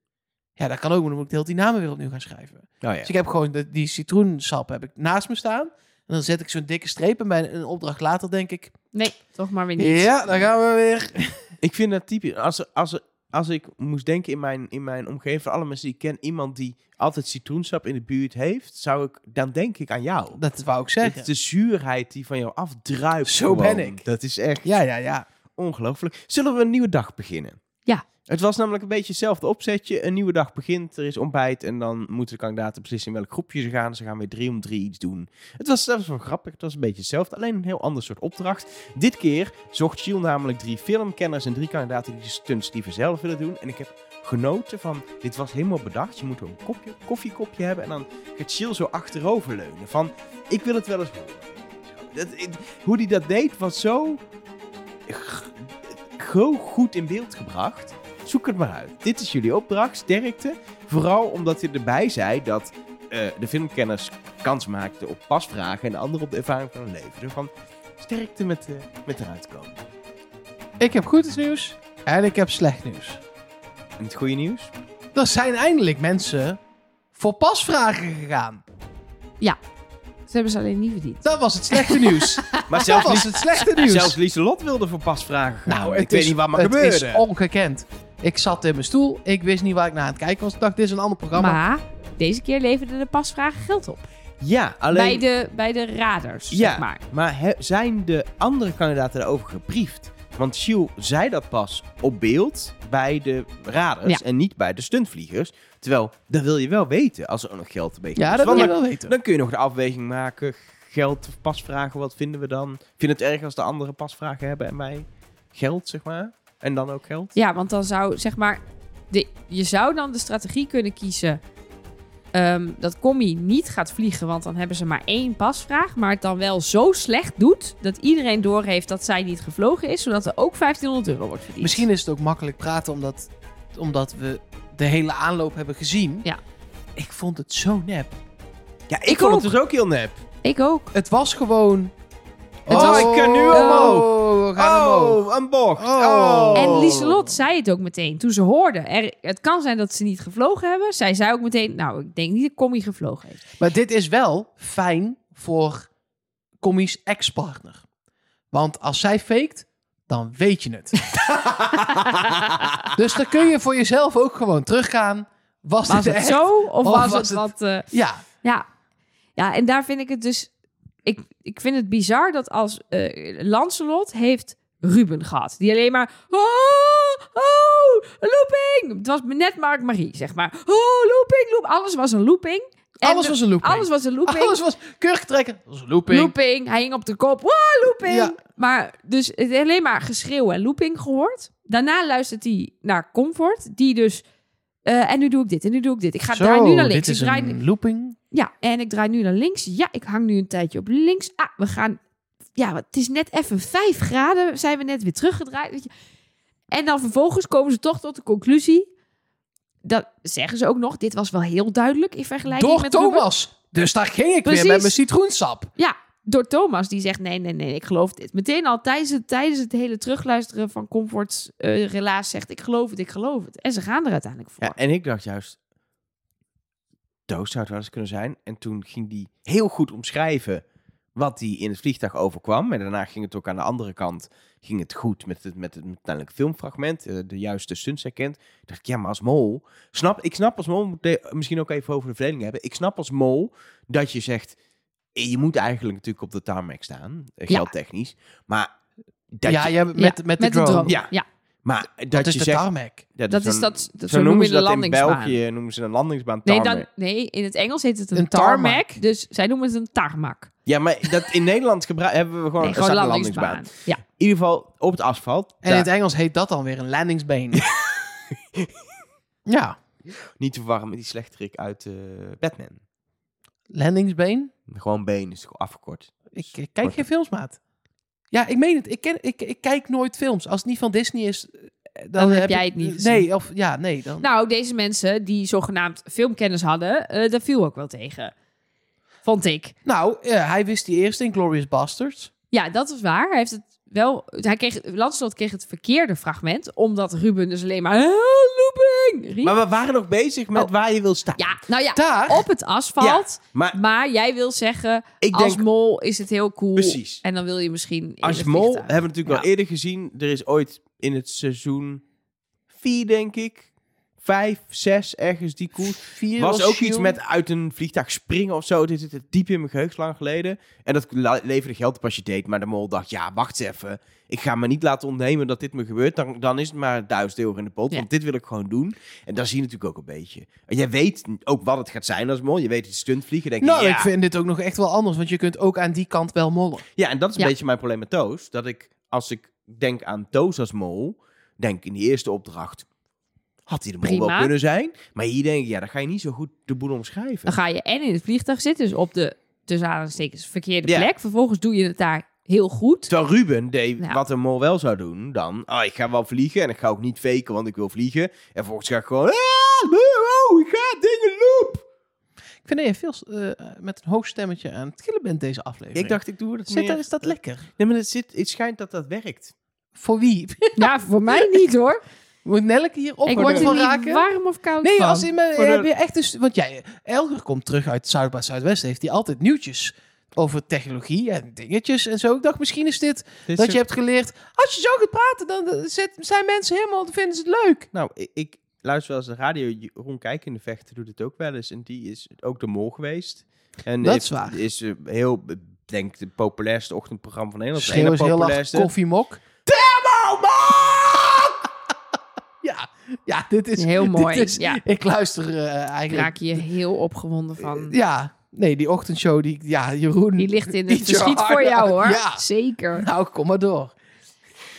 Ja, dat kan ook, maar dan moet ik de hele die namen weer opnieuw gaan schrijven. Nou Dus ik heb gewoon de- die citroensap heb ik naast me staan. En dan zet ik zo'n dikke streep en bij een opdracht later denk ik... Nee, toch maar weer niet. Ja, daar gaan we weer. Ik vind dat typisch. Als, er- als, er- als ik moest denken in mijn, in mijn omgeving, van alle mensen die ik ken, iemand die altijd citroensap in de buurt heeft, zou ik, dan denk ik aan jou. Dat wou ik Het zeggen. is de zuurheid die van jou afdruipt. Zo gewoon. ben ik. Dat is echt Ja, ja, ja. ongelooflijk. Zullen we een nieuwe dag beginnen? Ja. Het was namelijk een beetje hetzelfde opzetje. Een nieuwe dag begint, er is ontbijt en dan moeten de kandidaten beslissen in welk groepje ze gaan. Ze gaan weer drie om drie iets doen. Het was zelfs wel grappig, het was een beetje hetzelfde, alleen een heel ander soort opdracht. Dit keer zocht Shield namelijk drie filmkenners en drie kandidaten die de stunts die we zelf willen doen. En ik heb genoten van, dit was helemaal bedacht, je moet een kopje, koffiekopje hebben en dan gaat Shield zo achterover leunen van, ik wil het wel eens horen. Zo, Dat, ik- hoe die dat deed was zo zo goed in beeld gebracht. Zoek het maar uit. Dit is jullie opdracht, sterkte. Vooral omdat hij erbij zei dat eh, de filmkenners kans maakten op pasvragen en de anderen op de ervaring van hun leven. Zo van sterkte met, eh, met eruit komen. Ik heb goed nieuws en ik heb slecht nieuws. En het goede nieuws? Er zijn eindelijk mensen voor pasvragen gegaan. Ze hebben ze alleen niet verdiend. Dat was het slechte nieuws. Nou, Maar Dat zelfs, was Lies, het slechte nieuws. zelfs Lieselot wilde voor pasvragen gaan. nou, ik het weet is- niet wat maar het gebeurde. is ongekend. Ik zat in mijn stoel. Ik wist niet waar ik naar aan het kijken was. Ik dacht, dit is een ander programma. Maar deze keer leverden de pasvragen geld op. Ja, alleen... Bij, de, bij de raders, Ja. zeg maar. Maar he- zijn de andere kandidaten daarover gebriefd? Want Shiel zei dat pas op beeld bij de radars en niet bij de stuntvliegers. Terwijl, dat wil je wel weten als er ook nog geld mee ja, dat wil je wel weten. Dan kun je nog de afweging maken. Geld of pasvragen, wat vinden we dan? Vind het erg als de anderen pasvragen hebben en mij geld, zeg maar? En dan ook geld? Ja, want dan zou, zeg maar... De, je zou dan de strategie kunnen kiezen... ehm, dat Commie niet gaat vliegen, want dan hebben ze maar één pasvraag. Maar het dan wel zo slecht doet dat iedereen doorheeft dat zij niet gevlogen is. Zodat er ook 1500 euro wordt verdiend. Misschien is het ook makkelijk praten omdat, omdat we de hele aanloop hebben gezien. Ja. Ik vond het zo nep. Ja, ik, Ik vond het ook. dus ook heel nep. Ik ook. Het was gewoon... was- Oh, Ik kan nu omhoog. We gaan omhoog. oh, een bocht. Oh. Oh. En Lieselot zei het ook meteen toen ze hoorde. Er, het kan zijn dat ze niet gevlogen hebben. Zij zei ook meteen, nou, ik denk niet dat Commie gevlogen heeft. Maar dit is wel fijn voor Commie's ex-partner. Want als zij faked, dan weet je het. dus dan kun je voor jezelf ook gewoon teruggaan. Was, Was dit het echt? zo of Of was, het was het- wat... eh, Ja, Ja. ja, en daar vind ik het dus... Ik, ik vind het bizar dat als eh, Lancelot heeft Ruben gehad. Die alleen maar... Oh, oh, looping! Het was net Mark Marie, zeg maar. Oh, looping, loop. Alles was een looping. En alles de- was een looping. Alles was een looping. Alles was keurig trekken. Dat was een looping. Looping. Hij hing op de kop. Wow, looping. Ja. Maar dus het heeft alleen maar geschreeuw en looping gehoord. Daarna luistert hij naar Comfort. Die dus... eh, en nu doe ik dit, en nu doe ik dit. Ik ga Zo, draai nu naar links. Dit is ik draai een looping. ja, en ik draai nu naar links. Ja, ik hang nu een tijdje op links. Ah, we gaan. Ja, het is net even vijf graden. Zijn we net weer teruggedraaid? Weet je. En dan vervolgens komen ze toch tot de conclusie. Dat zeggen ze ook nog. Dit was wel heel duidelijk in vergelijking Door met Ruben. Thomas. Dus daar ging ik Precies. weer met mijn citroensap. Ja, door Thomas. Die zegt: nee, nee, nee, ik geloof dit. Meteen al tijdens het, tijdens het hele terugluisteren van Comfort's eh, relaas zegt: ik geloof het, ik geloof het. En ze gaan er uiteindelijk voor. Ja, en ik dacht juist, doos zou het wel eens kunnen zijn. En toen ging die heel goed omschrijven wat die in het vliegtuig overkwam. En daarna ging het ook aan de andere kant ging het goed met het, met het uiteindelijk filmfragment. eh, De juiste stunts herkend. Toen dacht ik, ja, maar als mol... Snap, ik snap als mol, moet de- misschien ook even over de verdeling hebben. Ik snap als mol dat je zegt... eh, Je moet eigenlijk natuurlijk op de tarmac staan, eh, Ja. geldtechnisch. Maar dat ja, je... ja, met, met, de drone. Ja. Maar dat Dat is je de zegt, tarmac. ja, Dat is zo'n- dat, dat zo zo noem noemen je ze de dat in landingsbaan. België, noemen ze een landingsbaan Nee, tarmac. dan, nee, in het Engels heet het een, Een tarmac. tarmac. Dus zij noemen het een tarmac. Ja, maar dat in Nederland gebru- hebben we gewoon, Nee, gewoon Oh, een een landingsbaan. landingsbaan. Ja. In ieder geval op het asfalt. En Daar- in het Engels heet dat dan weer een landingsbeen. ja, Niet te verwarren met die slechterik uit eh, Batman. landingsbeen. Gewoon been is gewoon afgekort. Ik, ik kijk geen films, maat. Ja, ik meen het. Ik, ken, ik, ik kijk nooit films. Als het niet van Disney is, eh, dan, Dan heb ik- jij het niet gezien. Nee, of ja, nee. Dan, Nou, deze mensen die zogenaamd filmkennis hadden, eh dat viel ook wel tegen. Vond ik. Nou, eh, hij wist die eerste in Glorious Bastards. Ja, dat is waar. Hij heeft het wel. Hij kreeg, Lancelot kreeg het verkeerde fragment, omdat Ruben dus alleen maar. "Ah, Looping! riep. Maar we waren nog bezig met Oh. waar je wil staan. Ja, nou ja, Daar. op het asfalt. Maar Maar jij wil zeggen, ik als denk, mol is het heel cool. Precies. En dan wil je misschien. in als het mol vliegtuig. hebben we natuurlijk Ja. wel eerder gezien. Er is ooit in het seizoen 4, denk ik. Vijf, zes, ergens die koers. Vier was was ook iets Shield. met uit een vliegtuig springen of zo. Dit zit diep in mijn geheugen lang geleden. En dat la- leverde geld op als je deed. Maar de mol dacht, ja, wacht eens even. Ik ga me niet laten ontnemen dat dit me gebeurt. Dan, dan is het maar duizend euro in de pot. Ja. Want dit wil ik gewoon doen. En dat zie je natuurlijk ook een beetje. En jij weet ook wat het gaat zijn als mol. Je weet het stunt vliegen. Denk je, Nou, ja. ik vind dit ook nog echt wel anders, want je kunt ook aan die kant wel mollen. ja, en dat is een Ja. beetje mijn probleem met Toos. Dat ik, als ik denk aan Toos als mol, denk in die eerste opdracht... Had hij de mol wel Prima. kunnen zijn. Maar hier denk ik, ja, dan ga je niet zo goed de boel omschrijven. Dan ga je en in het vliegtuig zitten, dus op de tussen aanhalingstekens verkeerde Ja. plek. Vervolgens doe je het daar heel goed. Terwijl Ruben deed Ja. wat een mol wel zou doen, dan... ah ik ga wel vliegen en ik ga ook niet faken, want ik wil vliegen. En volgens ga ik gewoon... Ah, wow, ik ga dingen loop! Ik vind dat je veel eh, met een hoog stemmetje aan het gillen bent deze aflevering. Ik dacht, ik doe het Zit daar- is dat lekker? Nee, maar het, zit, het schijnt dat dat werkt. Voor wie? Nou, voor mij niet hoor. Moet Nelke hier op ik word er van niet raken? warm of koud Nee, van. als in mijn, Voor de- heb je echt dus, want jij, Elger komt terug uit Zuid bij Zuidwest, heeft hij altijd nieuwtjes over technologie en dingetjes en zo. Ik dacht, misschien is dit dat je hebt geleerd, als je zo gaat praten, dan eh, zit- zijn mensen helemaal, dan vinden ze het leuk. Nou, ik, ik luister wel eens de radio. Ron Kijk in de Vechten doet het ook wel eens. En die is ook de mol geweest. En Dat heeft- is waar. Is eh, heel, ik denk de populairste ochtendprogramma van Nederland. Het Schreeuw ene is heel laag populairste. koffiemok. Oh, man! Ja, ja, dit is Heel dit mooi, is- ja. Ik luister eh, Ik eigenlijk. raak hier heel opgewonden van. Ja, nee, die ochtendshow, die, ja, Jeroen. Die ligt in het Eat your verschiet heart voor jou out. hoor. Ja. Zeker. Nou, kom maar door.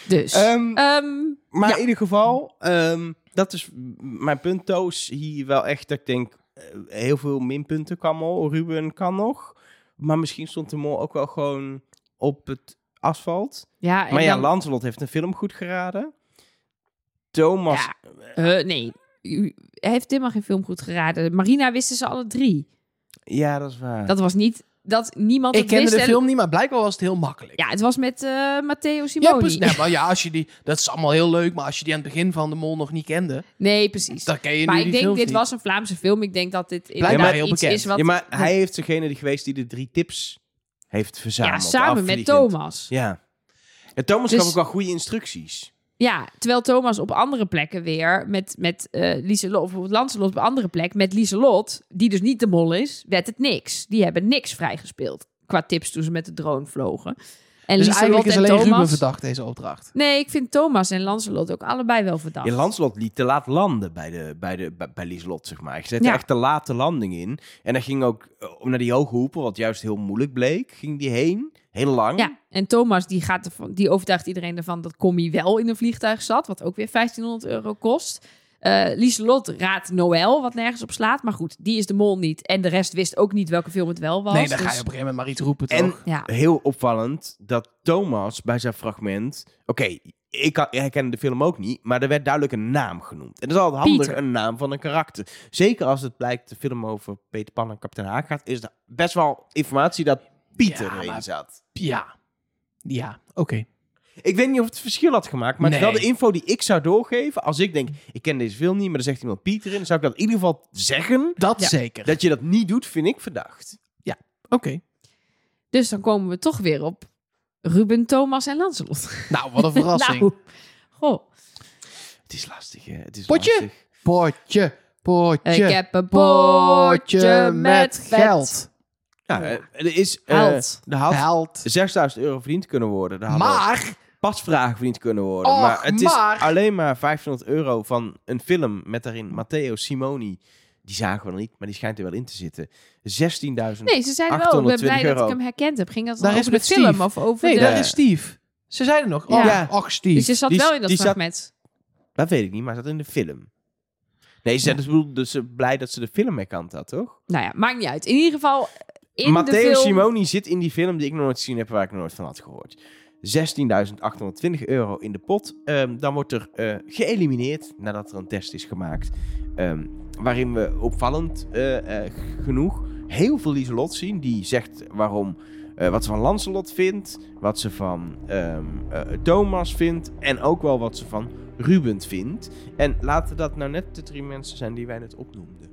Dus. Ehm, ehm, Maar Ja. in ieder geval, ehm, dat is m- mijn punt. Toos hier wel echt, dat ik denk, eh, heel veel minpunten kan al. Ruben kan nog. Maar misschien stond de mol ook wel gewoon op het asfalt. ja, en maar ja, dan- Lancelot heeft een film goed geraden. Thomas, Ja. Eh, nee, u- hij heeft helemaal geen film goed geraden. Marina wisten ze alle drie. ja, dat is waar. Dat was niet dat niemand Ik het kende wist. de en- film niet, maar blijkbaar was het heel makkelijk. Ja, het was met eh, Matteo Ja, Simoni. precies. Nee, maar ja, als je die, dat is allemaal heel leuk, maar als je die aan het begin van de mol nog niet kende, nee, precies. dan ken je Maar nu ik die denk, films dit niet. was een Vlaamse film. Ik denk dat dit Blijkbaar inderdaad heel iets bekend. is wat... ja, maar hij heeft degene die geweest die de drie tips heeft Ja, verzameld. samen met afvliegend. Thomas. Ja, En Thomas Dus- gaf ook wel goede instructies. Ja, terwijl Thomas op andere plekken weer met, met eh Lieselot, of bijvoorbeeld Lancelot op een andere plek, met Lieselot, die dus niet de mol is, werd het niks. Die hebben niks vrijgespeeld qua tips toen ze met de drone vlogen. En dus Lieselot eigenlijk is en alleen Ruben Thomas... verdacht deze opdracht. Nee, ik vind Thomas en Lancelot ook allebei wel verdacht. Je Lanslot liet te laat landen bij, de, bij, de, bij, bij Lieslot, zeg maar. Ik zette Ja. echt te laat de landing in. En dan ging ook eh, naar die hoge hoepel, wat juist heel moeilijk bleek, ging die heen. Heel Oh. lang. Ja, en Thomas die, gaat ervan, die overtuigt iedereen ervan dat Commie wel in een vliegtuig zat, wat ook weer 1500 euro kost. Eh Lieselot raadt Noël, wat nergens op slaat. Maar goed, die is de mol niet. En de rest wist ook niet welke film het wel was. nee, dan ga je op dus- een gegeven moment maar iets roepen En- toch? Ja, Heel opvallend dat Thomas bij zijn fragment... Oké, ik ha- herkende de film ook niet, maar er werd duidelijk een naam genoemd. En dat is altijd handig, Pieter. een naam van een karakter. Zeker als het blijkt de film over Peter Pan en kapitein Haak gaat... is er best wel informatie dat Pieter Ja, erin maar- zat. Ja. Ja, oké. Ik weet niet of het verschil had gemaakt, maar het is wel de Nee. info die ik zou doorgeven. Als ik denk, ik ken deze film niet, maar er zegt iemand Pieter in, dan zou ik dat in ieder geval zeggen. Dat Ja. zeker. Dat je dat niet doet, vind ik verdacht. Oké. dus dan komen we toch weer op Ruben, Thomas en Lancelot. Nou, wat een verrassing. nou, goh. Het is lastig, hè? Het is Potje? lastig. Potje, potje, Ik heb een potje met geld. Ja, eh, er is... eh, Held. Er had Geld. 6000 euro verdiend kunnen worden. Er hadden Maar, pasvragen verdiend kunnen worden. Och, maar het maar. is alleen maar 500 euro van een film met daarin Matteo Simoni. Die zagen we nog niet, maar die schijnt er wel in te zitten. 16.000. Nee, ze zeiden wel, ik ben blij 820 dat euro. ik hem herkend heb. Ging dat Daar dan is over de met Steve. film of over nee, de... daar is Steve. Ze zeiden nog, Ja. oh, Ja. och Dus Steve. je zat Die- wel in dat die zat- fragment. Dat weet ik niet, maar het zat in de film. Nee, ze, dus, bedoel, dus ze blij dat ze de film herkant had, toch? Nou ja, maakt niet uit. In ieder geval, eh, in de Matteo film... Simoni zit in die film die ik nog nooit gezien heb, waar ik nog nooit van had gehoord. 16.820 euro in de pot. Ehm, dan wordt er eh, geëlimineerd nadat er een test is gemaakt. ehm, waarin we opvallend eh, eh, genoeg heel veel Lieselot zien. Die zegt waarom, eh, wat ze van Lancelot vindt, wat ze van ehm, eh, Thomas vindt en ook wel wat ze van Ruben vindt. En laten dat nou net de drie mensen zijn die wij net opnoemden.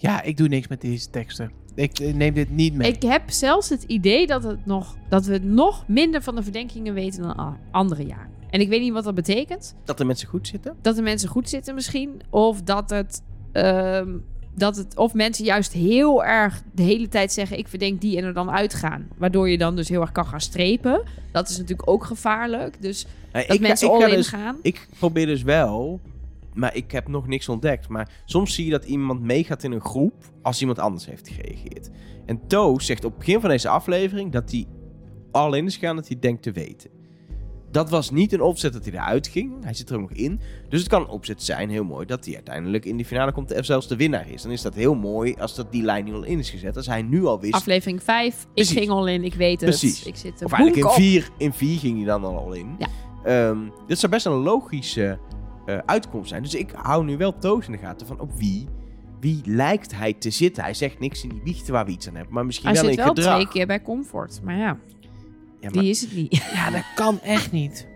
Ja, ik doe niks met deze teksten. Ik eh, neem dit niet mee. Ik heb zelfs het idee dat, het nog, dat we nog minder van de verdenkingen weten dan a- andere jaren. En ik weet niet wat dat betekent. Dat de mensen goed zitten. Dat de mensen goed zitten misschien. Of dat het... ehm, dat het, of mensen juist heel erg de hele tijd zeggen: Ik verdenk die en er dan uitgaan. Waardoor je dan dus heel erg kan gaan strepen. Dat is natuurlijk ook gevaarlijk. Dus Nou, dat ga- mensen ga all in dus- gaan. Ik probeer dus wel, maar ik heb nog niks ontdekt. Maar soms zie je dat iemand meegaat in een groep als iemand anders heeft gereageerd. En Toos zegt op het begin van deze aflevering dat hij alleen is gegaan dat hij denkt te weten. Dat was niet een opzet dat hij eruit ging. Hij zit er ook nog in. Dus het kan een opzet zijn, heel mooi, dat hij uiteindelijk in die finale komt en zelfs de winnaar is. Dan is dat heel mooi als dat die lijn nu al in is gezet. Als hij nu al wist. Aflevering 5. Ik Precies. ging al in, ik weet het. Precies. Ik zit er Of eigenlijk in boek op. vier, in vier ging hij dan al in. Ja. Ehm, dit zou best een logische eh, uitkomst zijn. Dus ik hou nu wel Toos in de gaten van op wie, wie lijkt hij te zitten. Hij zegt niks in die biechten waar we iets aan hebben, maar misschien Hij wel zit in wel gedrag. twee keer bij Comfort. Maar ja, Ja, maar die is het niet. Ja, dat kan echt niet.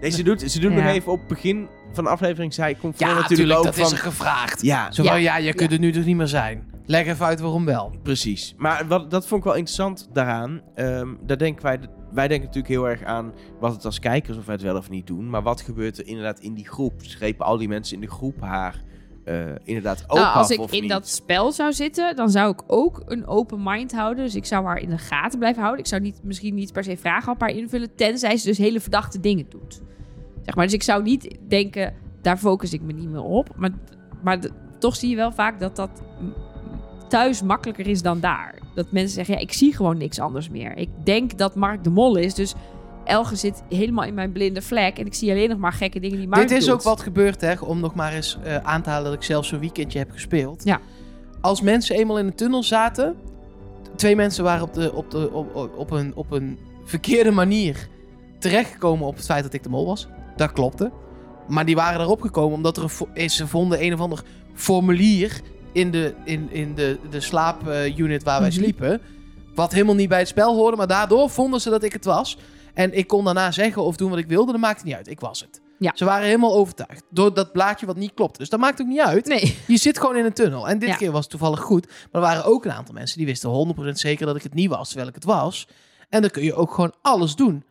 nee, ze doet, ze doet Ja. nog even op het begin van de aflevering, zei ik Ja, natuurlijk natuurlijk, ook dat van... is er gevraagd. Ja, Zo van, Ja. ja, je kunt er nu dus niet meer zijn. Leg even uit waarom wel. Precies. Maar wat, dat vond ik wel interessant daaraan. Ehm, daar denken wij, wij denken natuurlijk heel erg aan wat het als kijkers, of wij het wel of niet doen. Maar wat gebeurt er inderdaad in die groep? Strepen al die mensen in de groep haar eh, inderdaad ook Nou, als af ik of in niet? dat spel zou zitten, dan zou ik ook een open mind houden. Dus ik zou haar in de gaten blijven houden. Ik zou niet, misschien niet per se vragen op haar invullen, tenzij ze dus hele verdachte dingen doet. Zeg maar. Dus ik zou niet denken, daar focus ik me niet meer op. Maar, maar d- toch zie je wel vaak dat dat mm, thuis makkelijker is dan daar. Dat mensen zeggen, ja, ik zie gewoon niks anders meer. Ik denk dat Mark de Mol is, dus Elge zit helemaal in mijn blinde vlek. En ik zie alleen nog maar gekke dingen die Mark Dit is doet. ook wat gebeurt, hè, om nog maar eens eh, aan te halen dat ik zelf zo'n weekendje heb gespeeld. Ja. Als mensen eenmaal in de tunnel zaten, twee mensen waren op, de, op, de, op, op, op een, op een verkeerde manier terechtgekomen op het feit dat ik de mol was. Dat klopte. Maar die waren erop gekomen omdat er een, fo- eh, ze vonden een of ander formulier in de, in, in de, de slaapunit waar wij Mhm. sliepen. Wat helemaal niet bij het spel hoorde, maar daardoor vonden ze dat ik het was. En ik kon daarna zeggen of doen wat ik wilde, dat maakte niet uit. Ik was het. Ze waren helemaal overtuigd door dat blaadje wat niet klopt. Dus dat maakt ook niet uit. Nee. Je zit gewoon in een tunnel. En dit Ja. keer was het toevallig goed. Maar er waren ook een aantal mensen die wisten 100% zeker dat ik het niet was, terwijl ik het was. En dan kun je ook gewoon alles doen.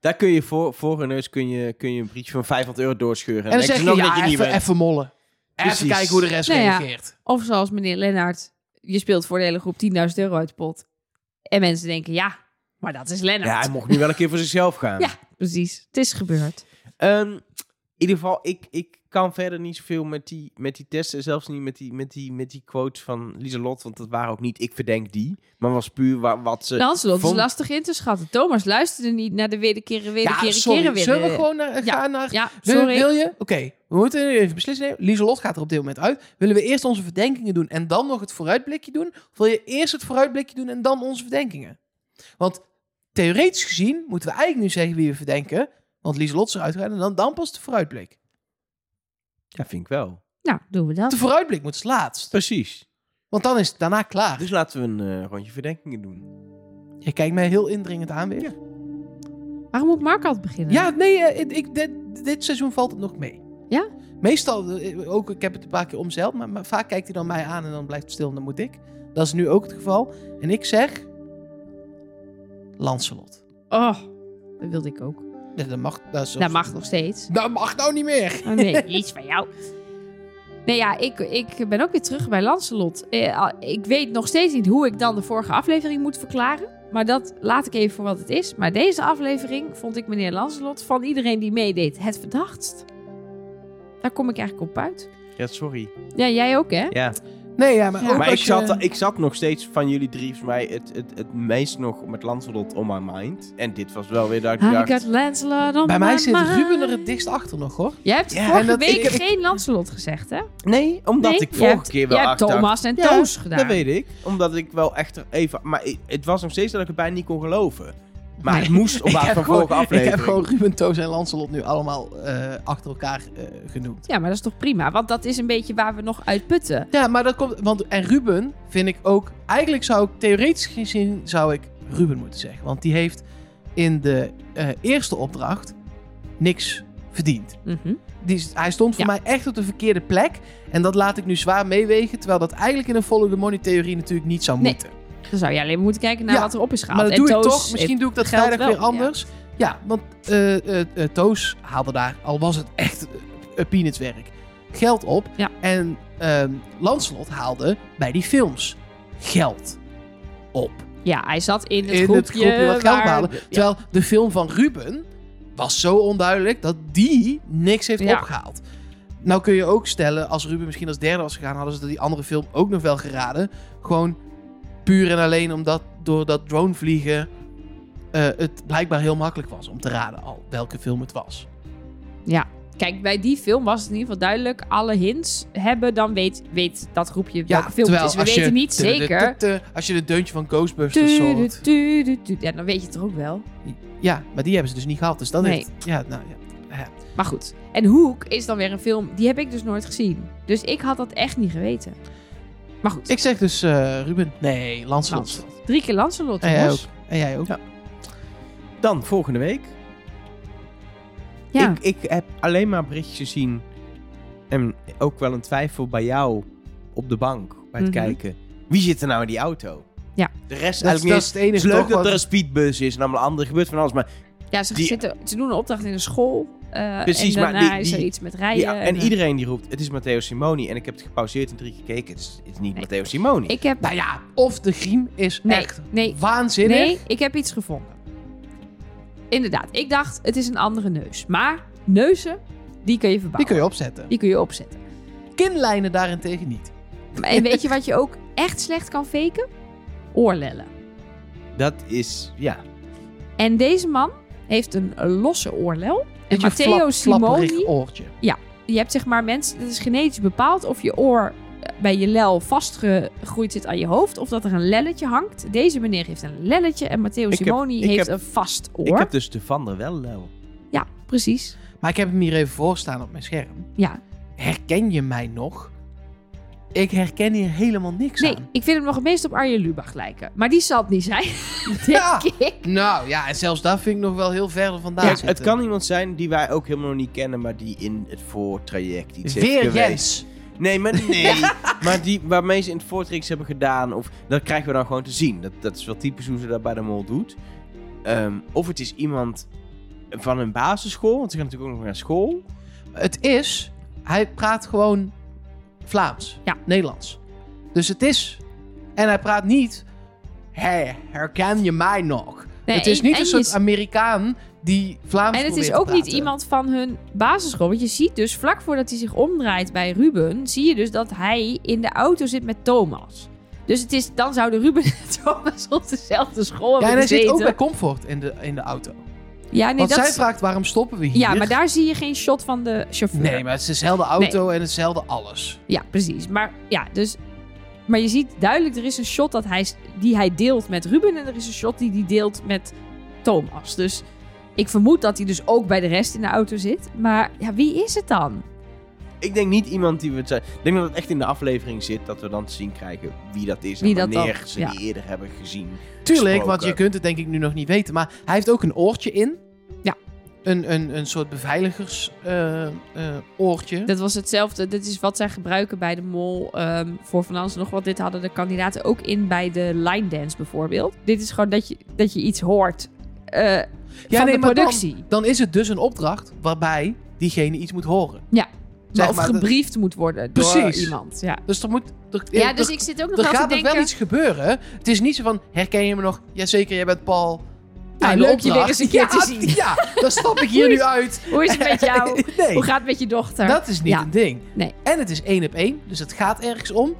Daar kun je voor, voor hun neus kun je, kun je een briefje van 500 euro doorscheuren. En dan zeg denken je, ze nog ja, dat je niet even, bent. even mollen. Precies. Even kijken hoe de rest Nou ja. reageert. Of zoals meneer Lennart, je speelt voor de hele groep 10.000 euro uit de pot. En mensen denken, ja, maar dat is Lennart. Ja, hij mocht nu wel een keer voor zichzelf gaan. Ja. Precies, het is gebeurd. Ehm, in ieder geval, ik, ik kan verder niet zoveel met die, met die testen. Zelfs niet met die, met die, met die quotes van Lieselot. Want dat waren ook niet ik verdenk die. Maar was puur wa- wat Eh, ze... Lancelot is vond- dus lastig in te schatten. Thomas luisterde niet naar de wederkeren, wederkeren, Ja, sorry. keren weer. eh, Zullen we gewoon naar, Ja, gaan naar... Ja, Wil, sorry. wil je? Oké, we moeten even beslissen nemen. Lieselot gaat er op dit moment uit. Willen we eerst onze verdenkingen doen en dan nog het vooruitblikje doen? Of wil je eerst het vooruitblikje doen en dan onze verdenkingen? Want theoretisch gezien moeten we eigenlijk nu zeggen wie we verdenken. Want Lieselot is eruit gegaan en dan, dan pas de vooruitblik. Ja, vind ik wel. Nou, doen we dat. De vooruitblik moet als laatst. Precies. Want dan is het daarna klaar. Dus laten we een eh, rondje verdenkingen doen. je kijkt mij heel indringend aan weer. Ja, Waarom moet Mark altijd beginnen? nee, eh, ik, ik- dit, dit seizoen valt het nog mee. Ja? Meestal, eh, ook, ik heb het een paar keer omzeild, maar, maar vaak kijkt hij dan mij aan en dan blijft het stil en dan moet ik. Dat is nu ook het geval. En ik zeg... Lancelot. Oh, dat wilde ik ook. Ja, dat mag... Dat, is- Dat mag nog steeds. Dat mag nou niet meer. Oh, nee, niets van jou. Nee, ja, ik, ik ben ook weer terug bij Lancelot. Eh, ah, ik weet nog steeds niet hoe ik dan de vorige aflevering moet verklaren. Maar dat laat ik even voor wat het is. Maar deze aflevering vond ik meneer Lancelot van iedereen die meedeed het verdachtst. Daar kom ik eigenlijk op uit. Ja, sorry. Ja, jij ook, hè? Ja. Nee, ja, maar Ja. eh, ook Maar ik als je- zat, ik zat nog steeds van jullie drie, volgens mij, het, het, het meest nog met Lancelot on my mind. En dit was wel weer dat ik I dacht... got Lancelot on Bij mij my zit mind. Ruben er het dichtst achter nog, hoor. Jij hebt Ja, en vorige dat- week ik- geen Lancelot gezegd, hè? Nee, omdat Nee? ik Jij vorige hebt- keer wel jij hebt achteraf- Thomas en Ja, Toos gedaan. Dat weet ik. Omdat ik wel echt er even... Maar i- het was nog steeds dat ik het bijna niet kon geloven. Maar Nee. het moest op Ik basis heb, van gewoon, vorige ik aflevering. heb gewoon Ruben, Toos en Lancelot nu allemaal eh, achter elkaar eh, genoemd. Ja, maar dat is toch prima? Want dat is een beetje waar we nog uit putten. Ja, maar dat komt. Want, en Ruben vind ik ook. Eigenlijk zou ik theoretisch gezien zou ik Ruben moeten zeggen. Want die heeft in de eh, eerste opdracht niks verdiend. Mhm. Die, is- hij stond voor Ja. mij echt op de verkeerde plek. En dat laat ik nu zwaar meewegen. Terwijl dat eigenlijk in een follow the money theorie natuurlijk niet zou Nee, moeten. Dan zou je alleen maar moeten kijken naar Ja, wat er op is gehaald. maar dat En doe ik Toos toch. Misschien doe ik dat geld vrijdag wel, weer ja. anders. Ja, want eh, eh, eh, Toos haalde daar, al was het echt eh, peanutswerk, geld op. Ja. En ehm Lancelot haalde bij die films geld op. heeft- Ja, hij zat in het in groepje, het groepje wat geld waar- halen. Terwijl de film van Ruben was zo onduidelijk dat die niks heeft Ja. opgehaald. Nou kun je ook stellen, als Ruben misschien als derde was gegaan, hadden ze die andere film ook nog wel geraden. Gewoon puur en alleen omdat door dat dronevliegen eh het blijkbaar heel makkelijk was om te raden al welke film het was. Kijk, bij die film was het in ieder geval duidelijk. Alle hints hebben, dan weet, weet dat groepje welke film het terwijl is. We als je weten niet de- de- de- zeker. de- Als je de deuntje van Ghostbusters hoort. Du- du- du- du- Ja, dan weet je het er ook wel. Ja, maar die hebben ze dus niet gehad. Dus dat Nee. heeft... Ja, nou ja. Maar goed. En Hoek is dan weer een film, die heb ik dus nooit gezien. Dus ik had dat echt niet geweten. Maar goed, Ik zeg dus eh, Ruben. Nee, Lancelot. Lancelot. drie keer Lancelot. En jij ook. jongens. En jij ook. Ja. Dan, volgende week. Ja. Ik, ik heb alleen maar berichtjes gezien. En ook wel een twijfel bij jou op de bank. Bij het Mhm. kijken. Wie zit er nou in die auto? Ja. De rest Dat, is- eigenlijk dat niet. is het enige Het is leuk toch dat wat- er een speedbus is en allemaal andere gebeurt van alles. Maar ja, ze, Die- zitten, ze doen een opdracht in een school. eh, Precies, en maar daarna die- is er die- iets met rijden. ja, en eh, iedereen die roept, het is Matteo Simoni. En ik heb het gepauzeerd en drie keer gekeken. Het is, het is niet Nee. Matteo Simoni. Ik heb... Nou ja, of de griem is Nee, echt nee, waanzinnig. Nee, ik heb iets gevonden. Inderdaad, ik dacht het is een andere neus. Maar neuzen, die kun je Die verbouwen. kun je opzetten. Die kun je opzetten. Kinlijnen daarentegen niet. En weet je wat je ook echt slecht kan faken? Oorlellen. Dat is, ja. En deze man heeft een losse oorlel. En Beetje Matteo flap- Simoni, flapperig oortje. je hebt zeg maar mensen, het is genetisch bepaald of je oor eh, bij je lel vastgegroeid zit aan je hoofd of dat er een lelletje hangt. Deze meneer heeft een lelletje en Matteo Ik heb- Simoni ik heeft heb- een vast Ik oor. heb dus de Van der Wel lel. Ja, precies. Maar ik heb hem hier even voor staan op mijn scherm. Ja, Herken je mij nog? Ik herken hier helemaal niks Nee, aan. ik vind hem nog het meest op Arjen Lubach lijken. Maar die zal het niet zijn, denk Ja. ik. Nou ja, en zelfs daar vind ik nog wel heel ver vandaan Ja, zitten. het kan iemand zijn die wij ook helemaal nog niet kennen, maar die in het voortraject iets heeft Weer geweest. Jens. Nee, maar nee. maar die waarmee ze in het voortraject iets hebben gedaan, of dat krijgen we dan gewoon te zien. Dat, dat is wel typisch hoe ze dat bij de mol doet. Ehm, of het is iemand van een basisschool, want ze gaan natuurlijk ook nog naar school. Het is, hij praat gewoon Vlaams, Ja. Nederlands. Dus het is, en hij praat niet, hey, herken je mij nog? Nee, het is en- niet en een je soort is- Amerikaan die Vlaams En het probeert is te ook niet praten. iemand van hun basisschool. Want je ziet dus vlak voordat hij zich omdraait bij Ruben, zie je dus dat hij in de auto zit met Thomas. Dus het is, dan zouden Ruben en Thomas op dezelfde school Ja, en hebben hij zit gezeten. ook bij Comfort in de, in de auto. ja, nee, Want dat zij is- vraagt, waarom stoppen we hier? ja, maar daar zie je geen shot van de chauffeur. Nee, maar het is dezelfde auto en hetzelfde alles. Ja, precies. Maar ja, dus. Maar je ziet duidelijk, er is een shot dat hij, die hij deelt met Ruben en er is een shot die hij deelt met Thomas. Dus ik vermoed dat hij dus ook bij de rest in de auto zit. Maar ja, wie is het dan? Ik denk niet iemand die we het zijn. Ik denk dat het echt in de aflevering zit dat we dan te zien krijgen wie dat is en Wie dat dan- wanneer ze ja. die eerder hebben gezien. Tuurlijk, gesproken. want je kunt het denk ik nu nog niet weten. Maar hij heeft ook een oortje in. Ja. Een, een, een soort beveiligers eh, eh, oortje. Dat was hetzelfde. Dit is wat zij gebruiken bij de mol ehm, voor van alles en nog wat. Dit hadden de kandidaten ook in bij de line dance bijvoorbeeld. Dit is gewoon dat je, dat je iets hoort eh, van nee, de maar dan- productie. Dan is het dus een opdracht waarbij diegene iets moet horen. Ja. Zeg of maar, dat- gebriefd moet worden door Precies. iemand. Ja, dus er moet... Er, ja er- dus ik zit ook nog er wel te gaat nog denken... wel iets gebeuren. Het is niet zo van, herken je me nog? Jazeker, jij bent Paul. Nou, En de leuk je weer eens een keer opdracht. te Ja, zien. Ja, dan stap ik hier nu uit. Hoe is het met jou? Nee. Hoe gaat het met je dochter? Dat is niet Ja. een ding. Nee. En het is één op één, dus het gaat ergens om.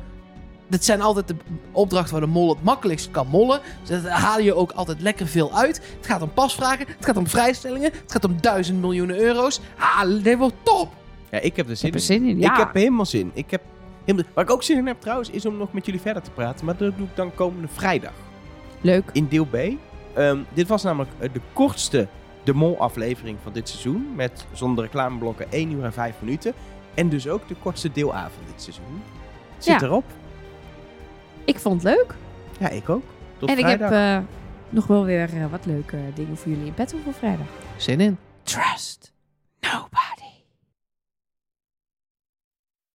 Dat zijn altijd de opdrachten waar de mol het makkelijkst kan mollen. Dus daar haal je ook altijd lekker veel uit. Het gaat om pasvragen, het gaat om vrijstellingen, het gaat om duizend miljoenen euro's. Ah, dit wordt top! Ja, ik heb er ik heb zin in. er zin in. Ja. Ik heb helemaal zin. Ik heb helemaal... Waar ik ook zin in heb trouwens, is om nog met jullie verder te praten. Maar dat doe ik dan komende vrijdag. Leuk. in deel B. Ehm, dit was namelijk eh, de kortste De Mol-aflevering van dit seizoen. Met zonder reclameblokken 1 uur en 5 minuten. En dus ook de kortste deel A van dit seizoen. Zit Ja. erop. Ik vond het leuk. Ja, ik ook. Tot en ik heb vrijdag. eh, nog wel weer eh, wat leuke dingen voor jullie in petto voor vrijdag. Zin in. Trust.